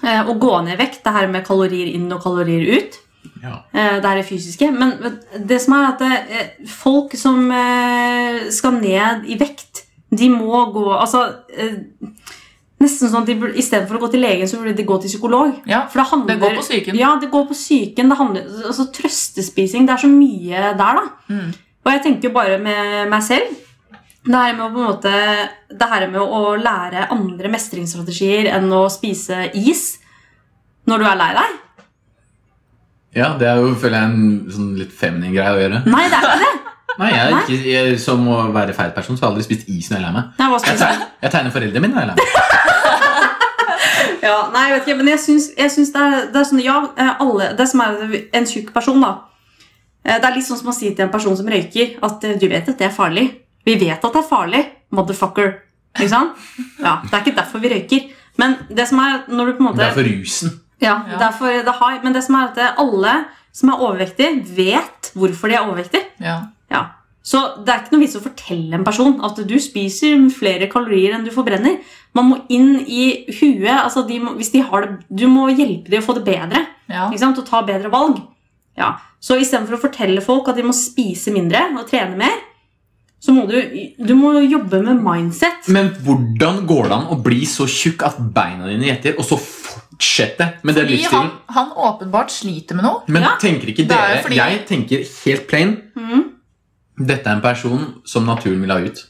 S3: eh, Å gå ned i vekt Det her med kalorier inn og kalorier ut
S1: Ja.
S3: eh, Det er det fysiske Men vet- det som er at eh, Folk som eh, skal ned i vekt De må gå Altså eh, Nesten sånn at de burde, i stedet for å gå til legen Så burde de gå til psykolog
S4: Ja.
S3: for det, handler,
S4: Det går på psyken.
S3: Ja, det går på psyken. Det handler, altså, trøstespising. Det er så mye der, da.
S4: Mm.
S3: Og jeg tenker jo bare med meg selv. Det her med å, på en måte, det her med å lære andre mestringsstrategier enn å spise is når du er lei deg.
S1: ja, Det er jo føler jeg, en sånn litt feminin greie å gjøre.
S3: Nei, det er ikke det.
S1: Nei, jeg, er ikke, jeg Som å være feit person, så har jeg aldri spist is når jeg er lei meg.
S3: Nei, hva skal
S1: Jeg
S3: jeg si?
S1: tegner, jeg tegner foreldrene mine når jeg er lei meg.
S3: Ja, nei, jeg vet ikke, men jeg syns, jeg syns det, er, det er sånn Ja, eh, alle Det som er en tjukk person, da. eh, Eh, Det er litt sånn som å si til en person som røyker, at eh, du vet at det er farlig. Vi vet at det er farlig, motherfucker. Ikke sant? Ja, Det er ikke derfor vi røyker. Men det som er når du på en måte...
S1: Det er for rusen.
S3: Ja,
S4: Ja.
S3: Derfor, det har, men det som er at det- alle som er overvektige, vet hvorfor de er overvektige.
S4: Ja.
S3: Ja. Så det er ikke noe vits å fortelle en person at du spiser flere kalorier enn du forbrenner. Man må inn i huet. Altså de må, hvis de har det, du må hjelpe dem å få det bedre
S4: ja.
S3: ikke sant? og ta bedre valg. Ja. Så istedenfor å fortelle folk at de må spise mindre og trene mer, så må du, du må jobbe med mindset.
S1: Men hvordan går det an å bli så tjukk at beina dine gjetter, og så fortsette med den
S4: Fordi han,
S1: livsstilen?
S4: han åpenbart sliter med noe.
S1: Men
S3: Ja.
S1: tenker ikke
S4: Det er
S1: dere
S4: jo fordi-
S1: Jeg tenker helt plain
S3: Mhm.
S1: Dette er en person som naturen vil ha ut.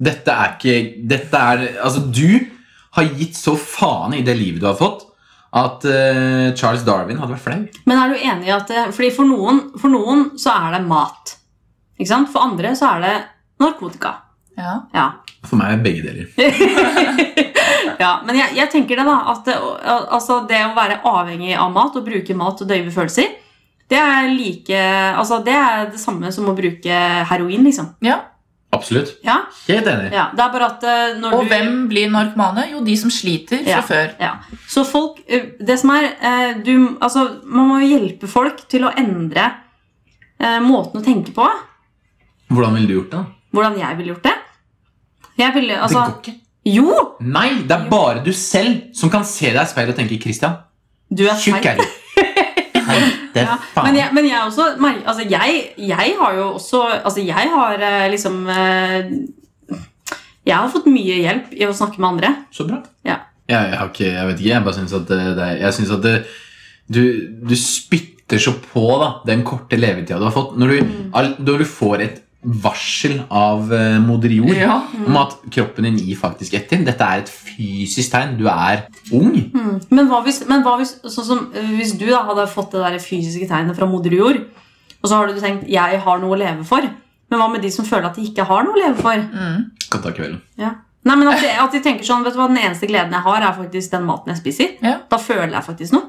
S1: Dette er ikke Dette er Altså, du har gitt så faen i det livet du har fått, at eh, Charles Darwin hadde vært flau.
S3: Men er du enig i at eh, fordi for noen, for noen så er det mat. Ikke sant? For andre så er det narkotika.
S4: Ja.
S3: Ja.
S1: For meg er begge deler.
S3: ja, men jeg, jeg tenker det da at det, å- al- altså det å være avhengig av mat og bruke mat og døyve følelser, det er like Altså det er det samme som å bruke heroin, liksom.
S1: Absolutt.
S3: Ja,
S1: Helt enig.
S3: ja Det er bare at eh, når
S4: Og
S3: du
S4: hvem blir narkomane? Jo, de som sliter
S3: Ja.
S4: fra før.
S3: Så folk eh, Det som er eh, du, Altså, man må jo hjelpe folk til å endre eh, måten å tenke på.
S1: Hvordan ville du gjort det? da?
S3: Hvordan jeg ville gjort det. Jeg ville altså
S1: det går ikke.
S3: Jo!
S1: Nei, det er bare du selv som kan se deg i speilet og tenke 'Christian,
S3: Du er
S1: tjukk
S3: feit.
S1: er du'. Heite
S3: Ja,
S1: faen.
S3: Men jeg, men jeg også mer- altså jeg, jeg har jo også Altså, jeg har eh, liksom eh, Jeg har fått mye hjelp i å snakke med andre.
S1: Så bra.
S3: Ja.
S1: Jeg, jeg, har ikke, jeg vet ikke, jeg bare syns at det, det er- Jeg synes at det, du, du spytter så på da, den korte levetida du har fått. Når du,
S3: Mm.
S1: all, når du får et varsel av eh, moder jord
S4: Ja.
S1: om at kroppen din gir faktisk etter. Dette er et fysisk tegn. Du er ung.
S3: Men hva hvis, men hva hvis, sånn som, eh, hvis du da hadde fått det der fysiske tegnet fra moder jord, og så har du tenkt 'jeg har noe å leve for', men hva med de som føler at de ikke har noe å leve for?
S4: Mm.
S1: Kan ta kvelden.
S3: Nei, men at de, at de tenker sånn, vet du hva, Den eneste gleden jeg har, er faktisk den maten jeg spiser.
S4: Ja.
S3: Da føler jeg faktisk noe.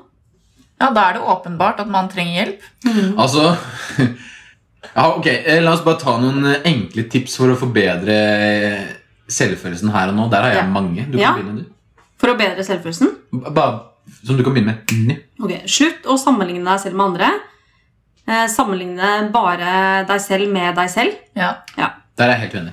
S4: ja, da er det åpenbart at man trenger hjelp.
S3: Mm.
S1: Altså ja, ok, eh, La oss bare ta noen eh, enkle tips for å forbedre eh, selvfølelsen her og nå. Der har jeg
S3: Ja.
S1: mange. Du kan
S3: Ja.
S1: begynne, du.
S3: For å bedre selvfølelsen.
S1: B- Bare, som du kan begynne med. Nå.
S3: Ok, Slutt å sammenligne deg selv med andre. Eh, sammenligne bare deg selv med deg selv.
S4: Ja.
S1: Der er jeg helt uenig.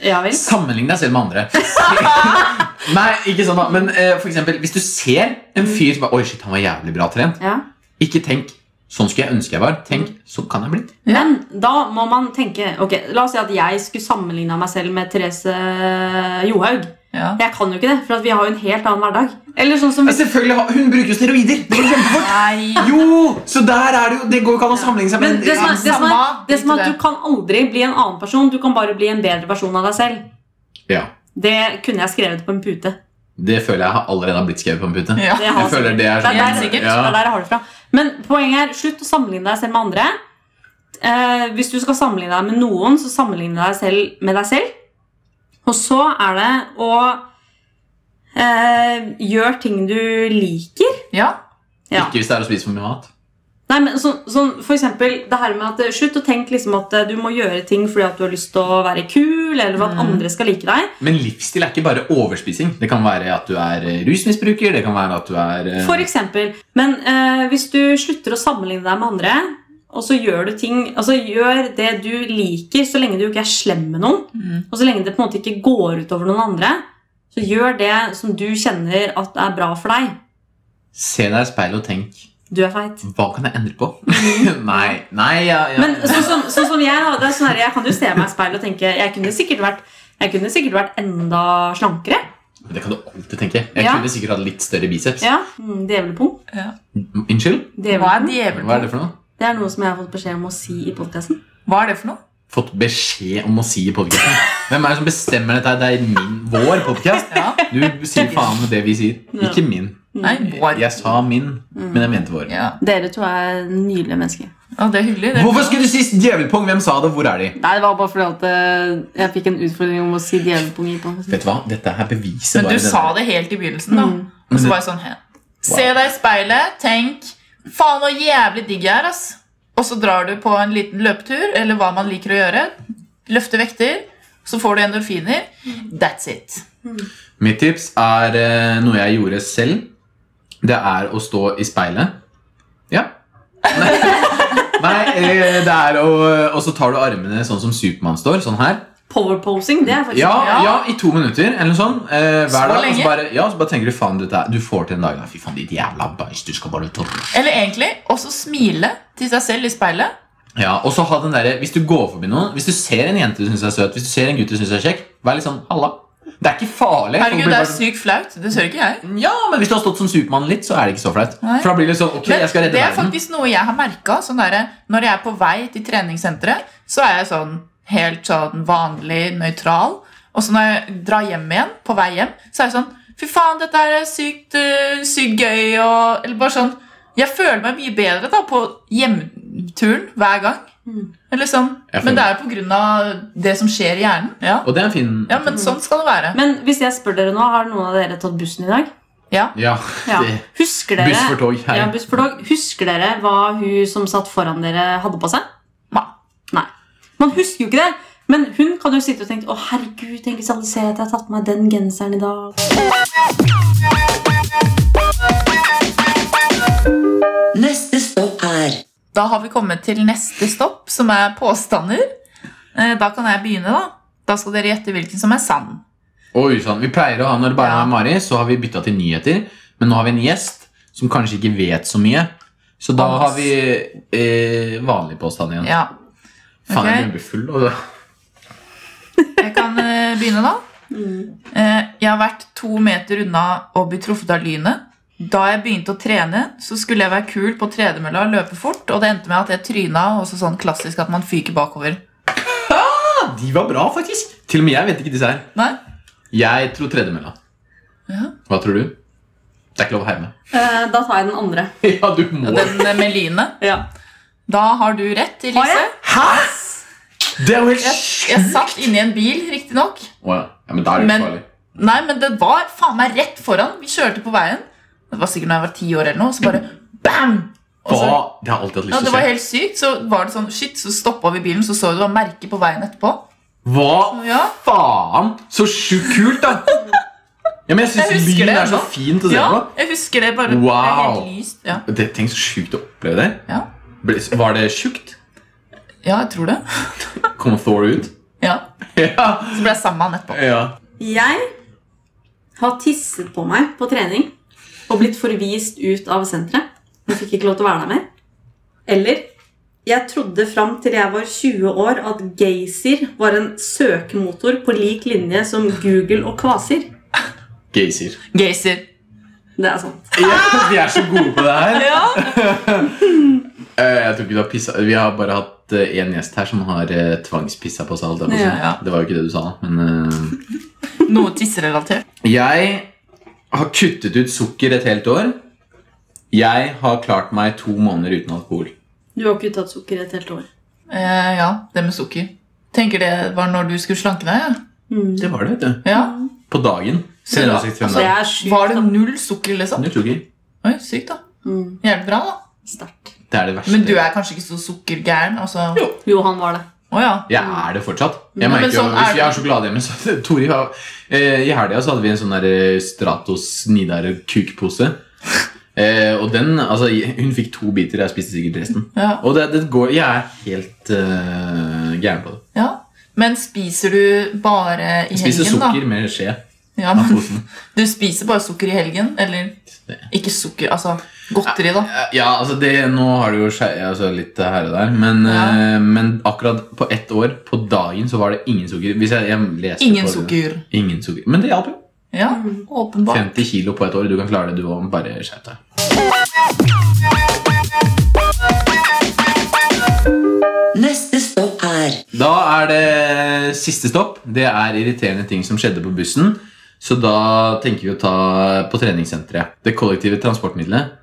S3: Ja vel?
S1: Sammenlign deg selv med andre. Nei, ikke sånn da Men eh, for eksempel, hvis du ser en fyr som bare, Oi, shit, han var jævlig bra trent
S3: Ja.
S1: Ikke tenk Sånn skulle jeg ønske jeg var. Tenk, sånn kan jeg bli.
S3: Men da må man tenke ok, La oss si at jeg skulle sammenligne meg selv med Therese eh, Johaug.
S4: Ja.
S3: Jeg kan jo ikke det, for at vi har jo en helt annen hverdag. Eller sånn som
S1: Ja, selvfølgelig, har- Hun bruker jo steroider! Det går jo kjempefort.
S4: Nei.
S1: Jo! Så der er det jo Det går jo ikke an å sammenligne seg
S3: Men
S1: med
S3: det som er, det som er,
S4: Samme,
S3: det som er
S4: drit i
S3: at du
S4: det.
S3: kan aldri bli en annen person. Du kan bare bli en bedre versjon av deg selv.
S1: Ja,
S3: Det kunne jeg skrevet på en pute.
S1: Det føler jeg har allerede har blitt skrevet på en pute.
S4: Ja.
S3: Det har
S1: Jeg føler det er
S3: Det er
S1: sånn
S3: der,
S4: sikkert.
S1: Ja.
S3: det er der jeg har det fra. Men poenget er, slutt å sammenligne deg selv med andre. Eh, hvis du skal sammenligne deg med noen, så sammenligne deg selv med deg selv. Og så er det å eh, gjøre ting du liker.
S4: Ja.
S3: Ja.
S1: Ikke hvis det er å spise for mye mat.
S3: Nei, men sånn- sånn, for eksempel det her med at eh, Slutt å tenke liksom at eh, du må gjøre ting fordi at du har lyst til å være kul, eller
S1: Mm.
S3: for at andre skal like deg.
S1: Men livsstil er ikke bare overspising. Det kan være at du er eh, rusmisbruker. Det kan være at du er eh,
S3: For eksempel. Men eh, hvis du slutter å sammenligne deg med andre, og så gjør du ting Altså gjør det du liker, så lenge du ikke er slem med noen,
S4: Mm.
S3: og så lenge det på en måte ikke går utover noen andre, så gjør det som du kjenner at er bra for deg.
S1: Se deg i speilet og tenk
S3: Du er feit.
S1: Hva kan jeg endre på? nei, nei, ja, ja.
S3: Mm. Men sånn som, sånn som jeg, da. Det er sånn her, jeg kan jo se meg i speilet og tenke jeg kunne sikkert vært, jeg kunne sikkert vært enda slankere.
S1: Det kan du alltid tenke. Jeg
S3: Ja.
S1: kunne sikkert hatt litt større biceps.
S3: Ja, mm, Djevelpung.
S1: M- Unnskyld?
S4: Hva er
S1: Hva er
S3: Djevelpung.
S4: djevel?
S1: det for noe?
S3: Det er noe som jeg har fått beskjed om å si i podkasten.
S4: Hva er det for noe?
S1: Fått beskjed om å si i podkasten. Hvem er det som bestemmer dette? her? Det er min, vår podkast.
S4: Ja.
S1: Du sier faen med det vi sier.
S3: Ja.
S1: Ikke min.
S4: Nei, vår.
S1: Jeg sa min, men jeg mente vår.
S4: Ja.
S3: Dere to er nydelige mennesker.
S4: Å, det er hyggelig. Det.
S1: Hvorfor skulle du si djevelpung? Hvem sa det? Hvor er de?
S3: Nei, det var bare fordi at eh, jeg fikk en utfordring om å si djevelpung i podkasten.
S1: Vet du hva? Dette her beviser
S4: Men
S1: bare
S4: du
S1: det
S4: sa
S1: der.
S4: det helt i begynnelsen, da.
S3: Mm.
S4: Og så bare sånn he. Se deg i speilet, tenk Faen, så jævlig digg jeg er, ass. Og så drar du på en liten løpetur, eller hva man liker å gjøre. Løfte vekter. Så får du endorfiner.
S3: Mm.
S4: That's it.
S1: Mitt tips er eh, noe jeg gjorde selv. Det er å stå i speilet. Ja. Nei, eh, det er å Og så tar du armene sånn som Supermann står. Sånn her.
S3: Powerposing, det er faktisk
S1: Ja, ja, i to minutter eller noe sånt. Eh,
S4: Så
S1: hver dag. Og
S4: lenge?
S1: så bare, ja, så bare tenker du faen, dette er, du får til en dag. da. Fy faen, ditt jævla bæsj. Du skal bare tørre.
S4: Eller egentlig også smile til seg selv i speilet.
S1: Ja, og så ha den der, Hvis du går forbi noen, hvis du ser en jente du syns er søt, hvis du ser en gutt du syns er kjekk, vær litt sånn halla. Det er ikke farlig. folk
S4: Herregud,
S1: blir
S4: det
S1: bare
S4: er
S1: sånn-
S4: sykt flaut. Det tør ikke jeg.
S1: Ja, men hvis du har stått som Supermann litt, så er det ikke så flaut.
S4: Nei.
S1: For da blir det sånn, ok,
S4: Men
S1: jeg skal redde
S4: det er
S1: verden.
S4: faktisk noe jeg har merka. Sånn derre, når jeg er på vei til treningssenteret, så er jeg sånn helt sånn vanlig nøytral. Og så når jeg drar hjem igjen, på vei hjem, så er jeg sånn Fy faen, dette er sykt, øh, sykt gøy og Eller bare sånn Jeg føler meg mye bedre da på hjemturen hver gang.
S3: Mm.
S4: Eller sånn.
S1: Jeg føler-
S4: Men det er på grunn av det som skjer i hjernen. Ja,
S1: Og det er en fin
S4: ja men sånn skal det være.
S3: Men hvis jeg spør dere nå, har noen av dere tatt bussen i dag?
S4: Ja.
S1: Ja,
S3: Ja.
S1: det-
S3: Husker dere,
S1: Buss for tog. Hei.
S3: ja, buss for tog. Husker dere hva hun som satt foran dere, hadde på seg?
S4: Nei.
S3: Nei. Man husker jo ikke det. Men hun kan jo sitte og tenke Å herregud, tenk hvis alle ser at jeg har tatt på meg den genseren i dag.
S2: Neste stopp er
S4: Da har vi kommet til neste stopp, som er påstander. Eh, Da kan jeg begynne, da. Da skal dere gjette hvilken som er sann.
S1: Oi, sånn. Vi pleier å ha, når det bare
S4: Ja.
S1: er Mari, så har vi bytta til nyheter. Men nå har vi en gjest som kanskje ikke vet så mye. Så da
S4: Hans.
S1: har vi eh, vanlig påstand igjen.
S4: Ja,
S1: Faen, jeg
S4: ok.
S1: begynner å bli full. Og...
S4: Jeg kan eh, begynne, da.
S3: Mm.
S4: Eh, Jeg har vært to meter unna å bli truffet av lynet. Da jeg begynte å trene, så skulle jeg være kul på tredemølla og løpe fort, og det endte med at jeg tryna, og så sånn klassisk at man fyker bakover.
S1: Ja, de var bra, faktisk. Til og med jeg vet ikke disse her.
S4: Nei?
S1: Jeg tror tredemølla.
S4: Ja.
S1: Hva tror du? Det er ikke lov å herme.
S3: Eh, da tar jeg den andre.
S1: Ja, du må
S4: Den eh, med lynet.
S3: Ja.
S4: Da har du rett,
S3: Har
S4: Elise.
S3: jeg?
S1: Hæ?! Det er jo helt
S4: Jeg, jeg satt inni en bil, riktignok.
S1: Å ja. ja, men da er det jo
S4: Men-
S1: ikke farlig.
S4: Nei, men det var faen meg rett foran. Vi kjørte på veien. Det var sikkert når jeg var ti år eller noe. Så bare bam! Og
S1: Hva?
S4: så,
S1: Det har jeg alltid hatt
S4: ja,
S1: lyst
S4: det
S1: til å
S4: var
S1: se.
S4: helt sykt. Så var det sånn, shit, så stoppa vi bilen, så så vi det var merke på veien etterpå.
S1: Hva
S4: Ja,
S1: Faen, så sjukt kult, da! Ja, men jeg
S4: Jeg
S1: syns
S4: husker
S1: lyn
S4: det
S1: er så
S4: ennå.
S1: fint å se
S4: ja
S1: på.
S4: jeg husker det. bare det er
S1: Wow.
S4: helt lyst. Ja.
S1: Det, tenk så sjukt å oppleve det.
S4: Ja.
S1: Ble- Var det tjukt?
S4: ja, jeg tror det.
S1: Kom Thor ut?
S4: Ja,
S1: Ja.
S4: Så ble jeg sammen med han etterpå.
S1: ja.
S3: Jeg har tisset på meg på trening og blitt forvist ut av senteret. Jeg fikk ikke lov til å være der mer. Eller jeg trodde fram til jeg var 20 år at Gaysir var en søkemotor på lik linje som Google og Kvasir.
S1: Gaysir.
S4: Gaysir.
S3: Det er sant.
S1: Ja, vi er så gode på det her.
S4: Ja.
S1: Eh, Jeg tror ikke du har pissa Vi har bare hatt én gjest her som har eh, tvangspissa på seg. alt det på seg.
S4: Ja, ja.
S1: Det var jo ikke det du sa, men eh,
S4: Noe tisserelatert.
S1: Jeg har kuttet ut sukker et helt år. Jeg har klart meg to måneder uten alkohol.
S3: Du har ikke tatt sukker et helt år.
S4: Eh, ja, det med sukker. Tenker det var når du skulle slanke deg?
S1: Det var det, vet du.
S4: Ja. ja.
S1: På dagen.
S4: Så Altså,
S1: 365
S4: da-
S3: Så Altså, jeg
S1: dager.
S3: er sjukt
S4: Var det null sukker, liksom?
S1: Null sukker.
S4: Oi, sykt, da.
S3: Mm.
S4: Jævlig bra, da.
S3: sterkt.
S1: Det er det verste.
S4: Men du er kanskje ikke så sukkergæren? Altså.
S1: Jo.
S3: Jo, han var det.
S4: Å ja.
S1: Jeg er det fortsatt. Jeg
S4: Ja, men
S1: merker jo,
S4: sånn er
S1: Hvis vi
S4: det.
S1: har sjokolade hjemme, så Tori har, eh, I helga så hadde vi en sånn der eh, Stratos Nidar kukpose. Eh, og den, altså, jeg- hun fikk to biter, jeg spiste sikkert resten.
S4: Ja.
S1: Og det, det går, jeg er helt eh, gæren på det.
S4: ja. Men spiser du bare i
S1: Jeg spiser
S4: helgen,
S1: sukker med skje
S4: da? Ja,
S1: av
S4: men
S1: posen.
S4: du spiser bare sukker i helgen? Eller ikke sukker, altså godteri, da?
S1: Eh, Ja, altså det, Nå har du jo skje, altså litt her og der, men,
S4: Ja.
S1: eh, men akkurat på ett år, på dagen, så var det ingen sukker. Hvis jeg, jeg leste på
S4: Ingen
S1: det.
S4: sukker.
S1: Ingen sukker. Men det hjalp jo.
S4: Ja, åpenbart.
S1: 50 kilo på et år. Du kan klare det, du òg. Bare skjerp deg.
S2: Neste stopp er
S1: Da er det siste stopp. Det er irriterende ting som skjedde på bussen. Så da tenker vi å ta på treningssenteret. Det kollektive transportmiddelet.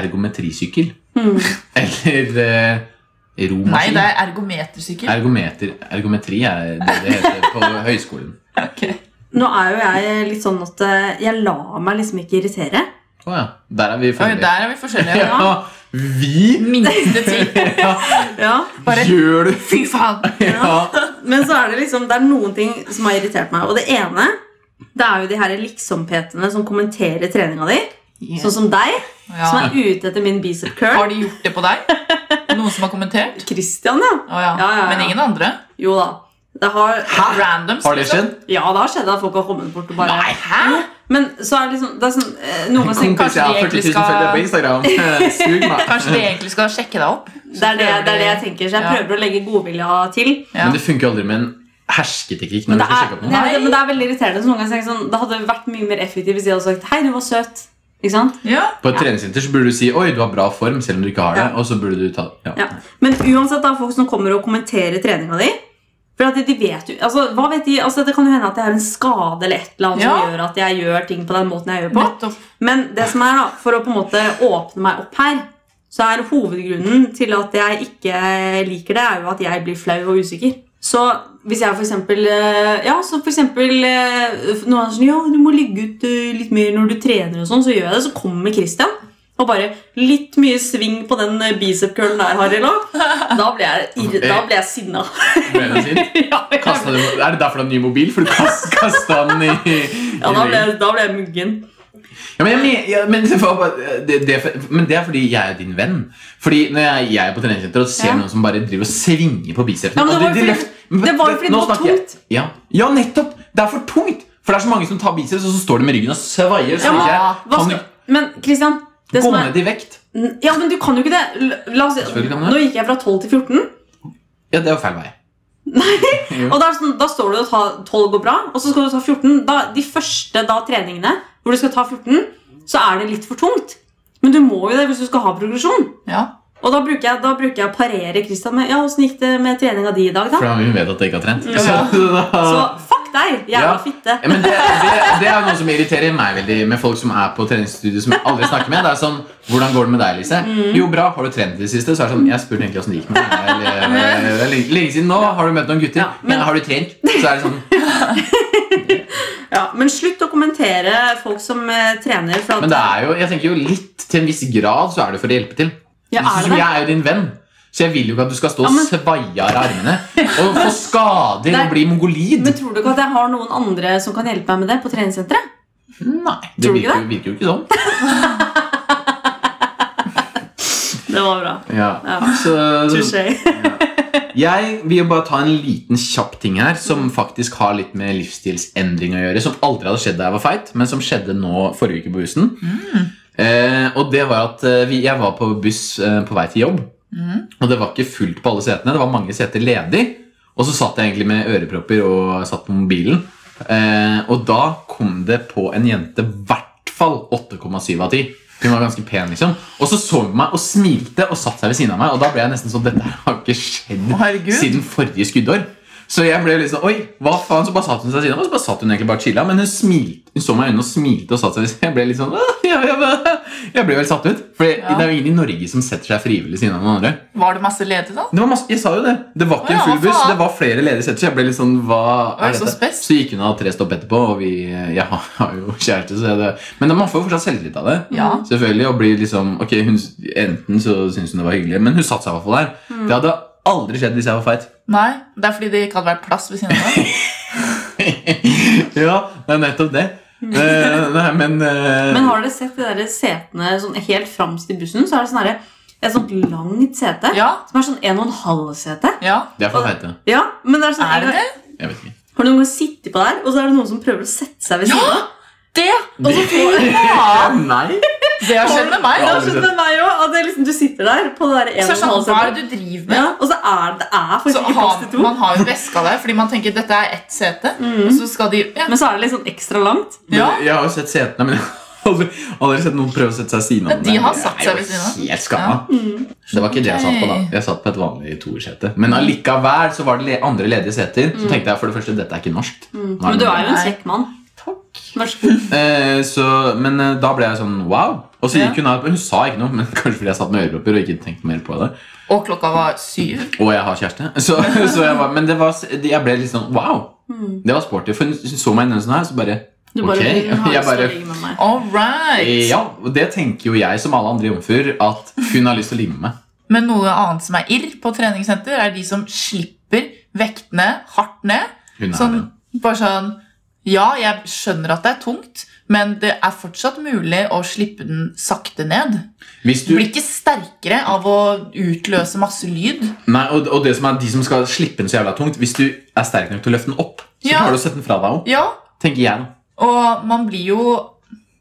S1: Ergometrisykkel. Eller eh, romaskin.
S4: Nei, det Hmm. er ergometersykkel.
S1: Ergometer. Ergometri er det det heter på høyskolen.
S4: Ok.
S3: Nå er jo jeg litt sånn at eh, jeg lar meg liksom ikke irritere.
S1: Å ja. Der er vi
S4: Oi,
S1: ferdige.
S4: der er vi forskjellige.
S1: Ja, Vi
S4: Minste ting.
S1: ja,
S3: Ja.
S4: Bare-
S1: gjør det!
S4: Fy faen!
S1: Ja.
S3: Men så er det liksom, det er noen ting som har irritert meg. Og det ene det er jo de her liksom-PT-ene som kommenterer treninga di. Sånn som deg, som
S4: Ja.
S3: er ute etter min bicep curl.
S4: Har de gjort det på deg? Noen som har kommentert?
S3: Christian, ja.
S4: Å ja.
S3: Ja, ja, ja.
S4: Men ingen andre?
S3: Jo da. Det har,
S4: Randoms,
S1: Har det
S4: liksom?
S1: skjedd?
S3: ja, det har skjedd at folk har kommet bort og bare
S4: Nei, hæ?
S3: Men så er det liksom det er sånn, eh, noe med sånn,
S1: Kompis, jeg har 40
S4: kanskje vi
S1: 000
S4: egentlig
S1: følgere på Instagram. Sug meg.
S4: Kanskje de egentlig skal sjekke deg opp?
S3: det, er det, det er det jeg tenker. Så jeg
S4: Ja.
S3: prøver å legge godvilja til.
S4: Ja.
S1: Men det funker jo aldri med en hersketeknikk når
S3: Men
S1: du
S3: det,
S1: skal
S3: er,
S1: sjekke opp
S3: det,
S1: noen.
S3: er, men det er veldig irriterende. Så noen ganger tenker jeg sånn, Det hadde vært mye mer effektivt hvis de hadde sagt 'hei, du var søt'. Ikke sant?
S4: Ja.
S1: På et treningssenter så burde du si 'oi, du har bra form', selv om du ikke har det. Og så burde du ta ja.
S3: Ja. Men uansett, da, folk som kommer og kommenterer treninga di For at de vet jo altså, hva vet de, altså, Det kan jo hende at jeg har en skade eller et eller annet
S4: Ja.
S3: som gjør at jeg gjør ting på den måten jeg gjør på.
S4: Nettopp.
S3: Men det som er da, for å på en måte åpne meg opp her, så er hovedgrunnen til at jeg ikke liker det, er jo at jeg blir flau og usikker. Så hvis jeg for eksempel, eh, ja, så for eksempel eh, noen er sånn, ja, du må ligge ut eh, litt mer når du trener og sånn, så gjør jeg det, så kommer Christian og bare litt mye sving på den eh, bicep-curlen der, Harry, nå. Da blir jeg, irri- da blir jeg sinna.
S1: Ble det sint?
S3: ja, jeg-
S1: Kastet du, er det derfor du har ny mobil? For du kast, kasta den i, i
S3: ja, da
S1: veggen.
S3: ble, jeg- da ble jeg muggen.
S1: Ja, men, jeg, men- ja, men, det var bare- det, det, er for- men det er fordi jeg er din venn. Fordi Når jeg, jeg er på treningssenter og ser
S3: Ja.
S1: noen som bare driver og svinger på bicepsen
S3: Ja, men det
S1: og
S3: var jo fordi-
S1: løft- men-
S3: det var jo fordi det
S1: nå
S4: var
S1: snakker jeg- Ja. ja, nettopp! Det er for tungt! For det er så mange som tar biceps, og så står de med ryggen og svaier. Så
S3: Ja, men,
S1: tenker jeg,
S3: hva
S1: kan
S3: skal, men Christian,
S1: du
S3: det
S1: gå
S3: som er...
S1: ned i vekt?
S3: N- Ja, men du kan jo ikke det. L- La oss si,
S1: Selvfølgelig kan jeg.
S3: nå gikk jeg fra 12 til 14,
S1: Ja, det er jo feil vei.
S3: og da, er det sånn, da står du og tar 12 går bra, og så skal du ta 14. Da, de første da, treningene hvor du skal ta 14, så er det litt for tungt. Men du må jo det hvis du skal ha progresjon.
S4: Ja.
S3: Og da bruker jeg, da bruker jeg å parere Christian med Ja, åssen gikk det med treninga di i dag, da?
S1: For hun vet at jeg ikke har trent. Så,
S4: Ja.
S1: da-
S3: Så fuck deg,
S1: Ja.
S3: jævla fitte.
S1: Ja, men det, det, det er noe som irriterer meg veldig med folk som er på treningsstudio som jeg aldri snakker med. Det er sånn, hvordan går det med deg, Lise?
S3: Mm.
S1: Jo, bra. Har du trent i det siste? Så er det sånn, jeg spurte egentlig hvordan det gikk med deg. Eller, det er lenge- lenge siden nå. Har du møtt noen gutter?
S3: Ja, men-
S1: Ja, har du trent? Så er det sånn,
S3: Ja, men slutt å kommentere folk som eh, trener. For at,
S1: men det er jo, jeg tenker jo litt til en viss grad så er det for å hjelpe til.
S3: Ja, er det
S1: jeg
S3: det?
S1: er jo din venn. Så jeg vil jo ikke at du skal stå
S3: Ja,
S1: og
S3: men-
S1: svaie av armene og få skader
S3: Det er-
S1: og bli mongolid.
S3: Men tror du ikke at jeg har noen andre som kan hjelpe meg med det på treningssenteret?
S1: Nei, det
S3: Tror du
S1: virker,
S3: ikke
S1: jo- virker jo ikke sånn.
S3: Det var bra.
S1: Ja.
S3: Ja.
S1: Så,
S3: Touché.
S1: Jeg vil jo bare ta en liten kjapp ting her som faktisk har litt med livsstilsendring å gjøre. Som aldri hadde skjedd da jeg var feit, men som skjedde nå forrige uke på bussen. Eh, og det var at eh, vi, Jeg var på buss eh, på vei til jobb,
S4: Mhm.
S1: og det var ikke fullt på alle setene. Det var mange seter ledig, og så satt jeg egentlig med ørepropper og satt på mobilen. Eh, og da kom det på en jente i hvert fall 8,7 av 10. Hun var ganske pen, liksom. Og så så hun meg og smilte og satt seg ved siden av meg. Og da ble jeg nesten sånn Dette her har ikke skjedd
S4: Å, herregud.
S1: siden forrige skuddår. Så jeg ble liksom Oi, hva faen? Så bare satt hun seg ved siden av meg, og så bare satt hun egentlig bare og chilla. Men hun smilte Hun så meg i øynene og smilte og satt seg ved siden Jeg ble litt sånn «Åh, jeg, jeg, jeg ble vel satt ut. For det,
S4: Ja.
S1: det er jo ingen i Norge som setter seg frivillig ved siden av noen andre.
S4: Var det masse ledig da?
S1: Det var masse, jeg sa jo det. Det var ikke
S4: Å ja,
S1: en full
S4: hva
S1: buss.
S4: faen?
S1: Det var flere ledige seter. Så jeg ble litt sånn, hva
S4: Oi,
S1: er
S4: så
S1: dette?
S4: spes.
S1: Så gikk hun av tre stopp etterpå, og vi, eh, jeg har- har jo kjæreste, så det Men man får jo fortsatt selvtillit av
S3: Mhm.
S1: det.
S4: Ja.
S1: Selvfølgelig, og blir liksom, ok, hun, Enten så syns hun det var hyggelig, men hun satte seg i hvert fall der.
S4: Mm.
S1: Det hadde aldri skjedd hvis jeg var feit.
S4: Nei, det er fordi det ikke hadde vært plass ved siden av deg.
S1: ja, det er nettopp det. Eh, nei, men, eh,
S3: Men har dere sett de der setene sånn, helt framst i bussen? Så er det sånn derre- et sånt langt sete
S4: Ja,
S3: som er sånn en og en halv sete.
S4: ja.
S1: Det er for feite.
S3: Ja, men det er sånn
S4: Er det det?
S1: Jeg vet ikke.
S3: Har du noen gang sittet på der, og så er det noen som prøver å sette seg ved
S4: Ja!
S3: siden av?
S4: Det!
S3: Og så får du
S4: Ja,
S1: Nei!
S4: det har skjedd med meg.
S3: Det
S1: Ja.
S4: Da.
S3: har skjedd med meg også, at det er liksom, du sitter der på det der en og
S4: Så er det
S3: en
S4: sånn,
S3: halv
S4: hva er
S3: sete.
S4: det du driver med?
S3: Ja, og så er det er
S4: Så
S3: faktisk ikke plass
S4: har,
S3: til to. Mhm.
S4: man har jo veska der, fordi man tenker dette er ett sete. Og så skal de ja.
S3: Men så er det litt sånn ekstra langt.
S4: ja.
S1: Men Jeg har jo sett setene, men jeg har aldri, aldri sett noen prøve å sette seg ved siden av
S4: Men de har satt seg ved siden av.
S1: av. Helt skamma. Det var ikke det jeg satt på, da. Jeg satt på et vanlig toersete. Men allikevel så var det le- andre ledige seter.
S4: Mm.
S1: Så tenkte jeg for det første, dette er ikke norsk. Nå
S3: Men du
S1: det
S3: er jo en
S4: Nei.
S3: kjekk mann.
S1: Takk.
S3: Vær så god.
S1: Eh, så, men eh, da ble jeg sånn wow. Og så
S4: Ja.
S1: gikk hun av. Hun sa ikke noe, men kanskje fordi jeg satt med ørepropper og ikke tenkte mer på det.
S4: Og klokka var syv.
S1: Og jeg har kjæreste. Så,
S4: Mm.
S1: så jeg var, men det var, jeg ble litt sånn wow. Det var sporty. For hun så meg i øynene sånn her, så bare
S3: Du bare
S1: Ok,
S3: vil ha
S1: jeg
S3: lyst til
S1: bare-
S3: å ligge med meg.
S4: All right.
S1: Ja, og det tenker jo jeg som alle andre jomfruer at hun har lyst til å ligge med meg.
S4: Men noe annet som er irr på treningssenter, er de som slipper vektene hardt ned.
S1: Hun er
S4: Sånn, bare sånn Ja, jeg skjønner at det er tungt, men det er fortsatt mulig å slippe den sakte ned.
S1: det. Hvis du,
S4: Du blir ikke sterkere av å utløse masse lyd.
S1: nei, og, og det som er de som skal slippe den så jævla tungt, hvis du er sterk nok til å løfte den opp, så
S4: Ja.
S1: klarer du å sette den fra deg òg.
S4: Ja,
S1: Tenker jeg. da.
S4: og man blir jo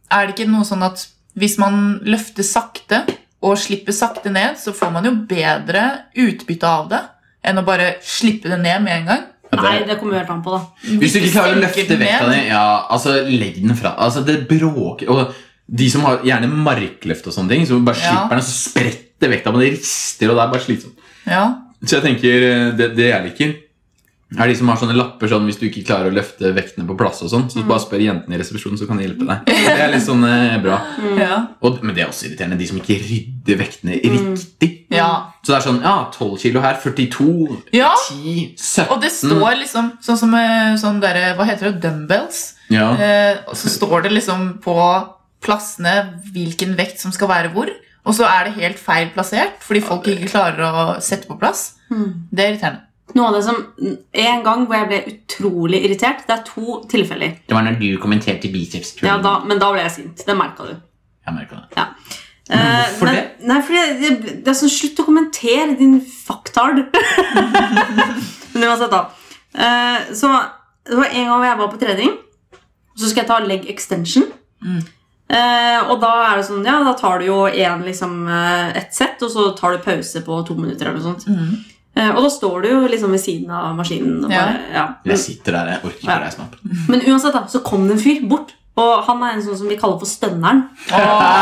S4: Er det ikke noe sånn at hvis man løfter sakte og slipper sakte ned, så får man jo bedre utbytte av det enn å bare slippe det ned med en gang?
S1: Ja,
S3: Nei,
S1: det-
S3: det kommer jo helt an på, da.
S1: Hvis du ikke klarer å løfte
S4: senker den
S1: vekta
S4: ned.
S1: di, ja, altså legg den fra Altså, det bråker Og de som har gjerne markløft og sånne ting, så bare
S4: Ja.
S1: slipper den, og så spretter vekta, men det rister, og det er bare slitsomt.
S4: Ja.
S1: Så jeg tenker, eh, det, det jeg liker, er de som har sånne lapper sånn hvis du ikke klarer å løfte vektene på plass og sånn,
S4: Mm.
S1: så bare spør jentene i resepsjonen, så kan de hjelpe deg. Det er litt sånn eh, bra.
S4: ja.
S1: Og, men det er også irriterende, de som ikke rydder vektene riktig.
S4: Mm. ja.
S1: Så det er sånn, ja, 12 kilo her, 42,
S4: Ja.
S1: 10, 17
S4: Og det står
S1: Mm.
S4: liksom sånn som eh, sånn derre Hva heter det? Dumbbells.
S1: ja.
S4: Eh, og så står det liksom på plassene hvilken vekt som skal være hvor. Og så er det helt feil plassert fordi folk ikke klarer å sette på plass. Det er irriterende.
S3: Noe av det som En gang hvor jeg ble utrolig irritert Det er to tilfeller.
S1: Det var når du kommenterte biceps.
S3: Ja, da, men da ble jeg sint. Det merka du.
S1: Jeg merket det.
S3: Eh,
S1: hvorfor
S3: men,
S1: det?
S3: Nei, fordi det, det er sånn, Slutt å kommentere, din fucktard. men uansett, da. Eh, så det var en gang hvor jeg var på trening. Så skal jeg ta leg extension.
S4: Mm.
S3: Eh, og da er det sånn, ja, da tar du jo en, liksom, eh, ett sett, og så tar du pause på to minutter. eller noe sånt.
S4: Mm.
S3: Eh, og da står du jo liksom ved siden av maskinen. Og
S4: Ja.
S3: bare, ja. Men-
S1: Jeg sitter der, jeg orker ikke å reise meg opp.
S3: Men uansett da, så kom det en fyr bort Og han er en sånn som vi kaller for stønneren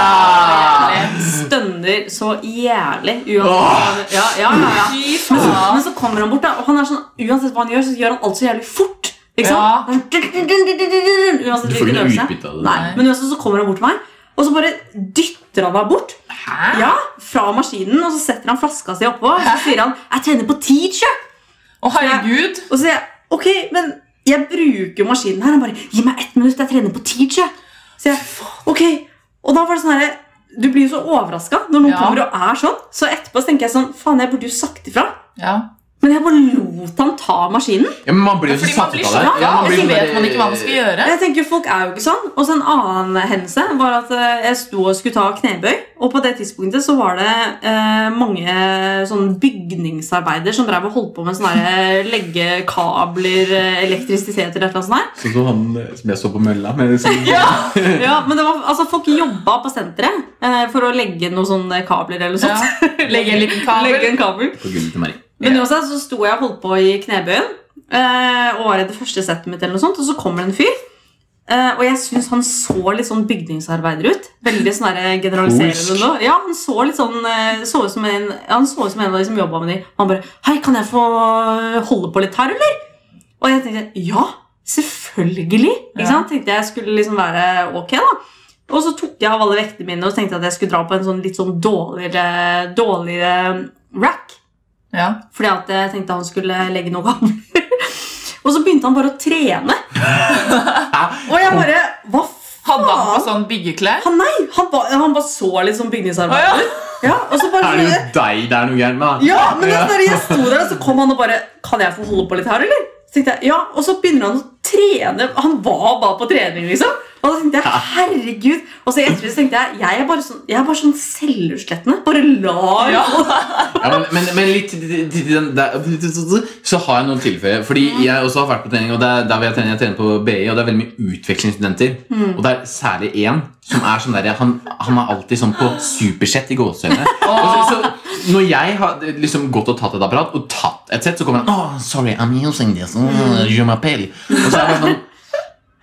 S4: Åh,
S3: Stønner så jævlig Uansett ja, ja, ja, ja.
S4: Fy
S3: Men, så,
S4: faen.
S3: men så kommer han bort da Og han er sånn, uansett hva han gjør, så gjør han alt så jævlig fort Ikke
S4: Ja.
S3: sant? Uansett
S1: Du får ikke
S3: hvilken
S1: noe
S3: øvelse.
S1: utbytte av det.
S3: Nei, men uansett så kommer han bort til meg Og så bare dytter han meg bort
S4: Hæ?
S3: Ja, fra maskinen Og så setter han flaska si oppå Og så sier han, jeg tenner på teacher
S4: Å, herregud.
S3: Og så sier jeg, ok, men jeg bruker jo maskinen her. Han bare, gi meg ett minutt, jeg trener på teach, jeg. Så jeg, ok. Og da var det sånn her, du blir jo så overrasket når noen
S4: Ja.
S3: kommer og er sånn. Så etterpå så tenker jeg sånn, faen, jeg burde jo sagt ifra.
S4: Ja.
S3: Men jeg bare lot han ta maskinen.
S1: Ja, men man blir jo så
S4: Fordi man
S1: satt ut av
S4: blir så
S1: det.
S4: ja, og
S1: blir
S4: så
S1: jo
S4: vet
S1: bare-
S4: man ikke hva man skal gjøre.
S3: Jeg tenker, folk er jo ikke sånn. Og så en annen hendelse var at eh, jeg sto og skulle ta knebøy. Og på det tidspunktet så var det eh, mange sånn bygningsarbeider som drev og holdt på med sånne her leggekabler, eh, elektrisitet eller et eller annet sånt her.
S1: Sånn som han eh, som jeg så på mølla med. Sånn,
S3: Ja, men det var, altså, Folk jobba på senteret eh, for å legge noen sånne kabler eller
S4: Ja.
S3: sånt.
S4: Legge en liten kabel.
S3: Legge en kabel.
S1: På gulvet til Marie.
S3: Men uansett så sto jeg og holdt på i knebøyen eh, og var i det første settet mitt, eller noe sånt, og så kommer det en fyr. Eh, og jeg syns han så litt sånn bygningsarbeider ut. Veldig sånn der generaliserende.
S1: Polsk.
S3: nå. Ja, Han så litt sånn eh, Så ut som en Han så ut som en av de som jobba med de. Og han bare 'Hei, kan jeg få holde på litt her, eller?' Og jeg tenkte 'Ja, selvfølgelig'.
S4: Ja.
S3: Ikke sant? Tenkte jeg skulle liksom være ok, da. Og så tok jeg av alle vektene mine og tenkte at jeg skulle dra på en sånn litt sånn dårligere, dårligere rack.
S4: Ja.
S3: Fordi at jeg tenkte han skulle legge noe an. og så begynte han bare å trene. og jeg bare Hva
S4: Hadde han på
S3: faen?
S4: sånn byggeklær?
S3: Han, nei, han, ba, han bare så litt sånn
S4: Å, ja.
S3: bygningsarbeider. Ja, og så bare
S1: Er det jo deg det er noe gærent med? da?
S3: Ja, men altså- da når jeg sto der, så kom han og bare Kan jeg få holde på litt her, eller? Så tenkte jeg, ja, Og så begynner han å trene. Han var bare på trening, liksom. Og da tenkte jeg, herregud Og så i ettertid så tenkte jeg jeg er bare sånn, jeg er bare sånn selvutslettende. Bare lar
S4: Ja.
S1: Ja, men, men, men litt til- til- til den der- Så har jeg noen tilføye. Fordi
S3: Mm.
S1: jeg også har vært på trening, og det er der hvor jeg trener, jeg trener på BI, og det er veldig mye utvekslingsstudenter.
S3: Mm.
S1: Og det er særlig én som er sånn der Han, han er alltid sånn på supersett i gåseøynene. Og så- så Når jeg har liksom gått og tatt et apparat, og tatt et sett, så kommer han oh, 'Sorry, I'm using this. Oh, je m'appelle.' Og så er jeg bare sånn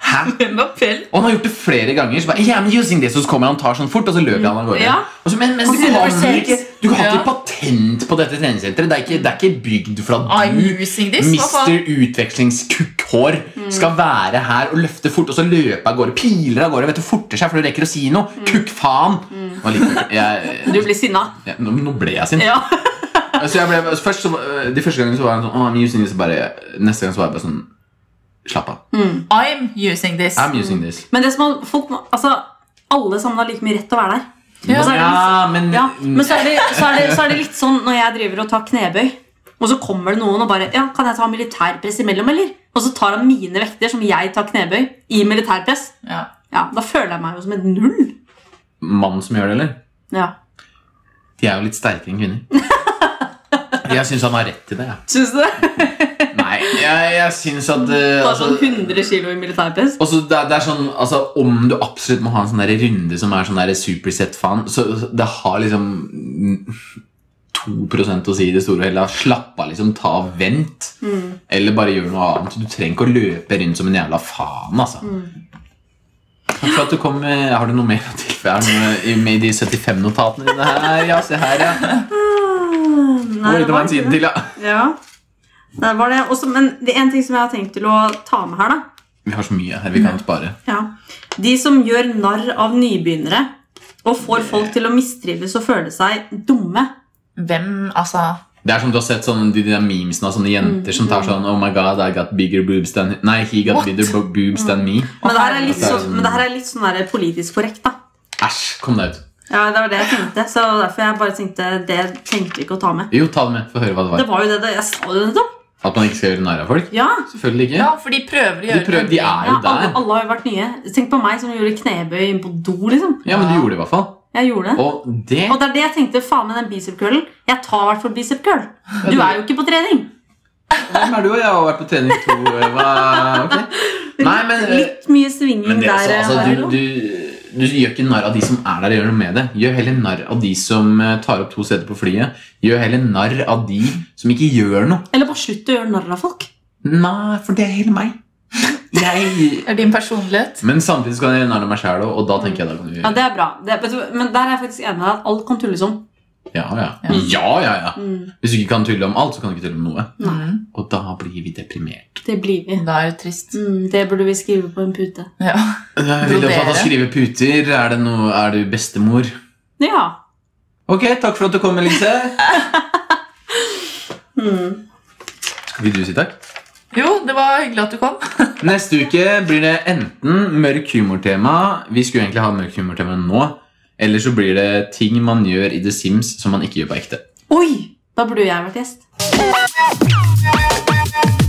S1: Hæ?
S4: En appell.
S1: Og han har gjort det flere ganger. Så bare, yeah, I'm using this, og så kommer han og tar sånn fort, og så løper han av gårde.
S3: Ja.
S1: Og så, men, men
S3: Og
S1: du,
S3: så
S1: kan
S3: reverseres.
S1: ikke, du har
S4: Ja.
S1: ikke patent på dette treningssenteret. Det er ikke, det er ikke bygd for at
S4: I'm
S1: du,
S4: using this. Hva faen?
S1: mister utvekslingskukkhår, skal være her og løfte fort, og så løpe av gårde. Piler av gårde, vet du, forter seg, for du rekker å si noe. Kukk faen! Og likevel,
S3: Mm. Du
S1: jeg,
S3: blir sinna.
S1: jeg, nå, nå ble jeg sint.
S3: Ja.
S1: Altså, jeg ble, først så, de første gangene så var han sånn oh, I'm using this, bare, neste gang så var jeg bare sånn Slapp av.
S3: Mm.
S4: I'm using this.
S1: I'm using this.
S3: Men det som er, folk, må- altså, alle sammen har like mye rett til å være der.
S4: Ja.
S3: Og så er det litt-
S1: Ja, men,
S3: Ja, men så er, det, så, er det, så er det litt sånn når jeg driver og tar knebøy, og så kommer det noen og bare Ja, kan jeg ta militærpress imellom, eller? Og så tar han mine vekter, som jeg tar knebøy, i militærpress.
S4: Ja.
S3: Ja, Da føler jeg meg jo som et null.
S1: Mannen som gjør det, eller?
S3: Ja.
S1: De er jo litt sterkere enn kvinner. Jeg syns han har rett til det. jeg.
S3: Syns du det?
S1: Nei, jeg, jeg syns at eh,
S3: Bare
S1: altså,
S3: sånn 100 kilo i militærpress.
S1: Og så det, er- det er sånn, altså Om du absolutt må ha en sånn der runde som er sånn der superset-faen så, så Det har liksom mm, 2 å si i det store og hele. Slapp av, liksom. Ta og vent.
S3: Mm.
S1: Eller bare gjør noe annet. Du trenger ikke å løpe rundt som en jævla faen. altså
S3: Mm.
S1: Takk for at du kom med, Har du noe mer å tilføye? Er det noe i- med de 75 notatene dine her? Ja, se her, ja.
S3: Nei,
S1: Oi, det var en side til, ja.
S3: Ja. Det var det. Også, men det er en ting som jeg har tenkt til å ta med her, da.
S1: Vi har så mye her. Vi
S3: Mm.
S1: kan spare.
S3: Ja. De som gjør narr av nybegynnere og får folk til å mistrives og føle seg dumme.
S4: Hvem, altså
S1: Det er som du har sett sånn, de, de der memesene av sånne
S3: Mm,
S1: jenter som tar sånn Oh my god, I got bigger boobs than Nei, he got
S4: What?
S1: bigger bo- boobs than me.
S3: Men det her er litt,
S1: herregud.
S3: så, men det her er litt sånn der politisk korrekt, da.
S1: Æsj, kom deg ut.
S3: Ja, Det var det jeg tenkte, så derfor jeg bare tenkte det tenkte vi ikke å ta med.
S1: Jo, ta det med. Få høre hva det
S3: Det
S1: var.
S3: var jo det, det jeg sa jo det nettopp.
S1: At man ikke skal gjøre narr av folk?
S3: Ja,
S1: Selvfølgelig ikke.
S4: Ja, for de prøver å
S1: De,
S4: gjøre
S1: prøver, de er
S3: ja
S1: jo
S3: alle,
S1: der.
S3: alle har jo vært nye. Tenk på meg som gjorde knebøy inn på do, liksom.
S1: Ja, men de gjorde det i hvert fall.
S3: Jeg gjorde det.
S1: Og det
S3: Og det er det jeg tenkte. Faen med den bicep-curlen. Jeg tar i hvert fall bicep-curl. Du er jo ikke på trening.
S1: Hvem er du? Jeg har vært på trening to eh, hva? Ok. Nei, men eh,
S3: Litt mye svinging
S1: men det,
S3: der.
S1: altså,
S3: eh,
S1: altså, du, du, du gjør ikke narr av de som er der, og gjør noe med det. Gjør heller narr av de som eh, tar opp to seter på flyet. Gjør heller narr av de som ikke gjør noe.
S3: Eller bare slutt å gjøre narr av folk.
S1: Nei, for det er hele meg. Jeg
S4: Er din personlighet?
S1: Men samtidig skal jeg nærme meg sjæl òg, og da tenker jeg da kan du
S3: Ja, Det er bra. Det, vet du, men der er jeg faktisk enig med deg at alt kan tulles om.
S1: Ja, ja. ja, ja, ja.
S3: Mm.
S1: Hvis du ikke kan tulle om alt, så kan du ikke tulle om noe.
S3: Nei.
S4: Mm.
S1: Og da blir vi deprimert.
S3: Det blir vi.
S4: Da er det trist.
S3: Mm, det burde vi skrive på en pute.
S4: Ja.
S1: Jeg vil du at jeg
S4: Brodere.
S1: skriver puter? Er, det noe, er du bestemor?
S3: Ja.
S1: Ok, takk for at du kom, Elise. Skal ikke du si takk?
S4: Jo, det var hyggelig at du kom.
S1: Neste uke blir det enten mørk humortema Vi skulle egentlig ha mørk humortema nå. Eller så blir det ting man gjør i The Sims som man ikke gjør på ekte.
S3: Oi! Da burde jo jeg vært gjest.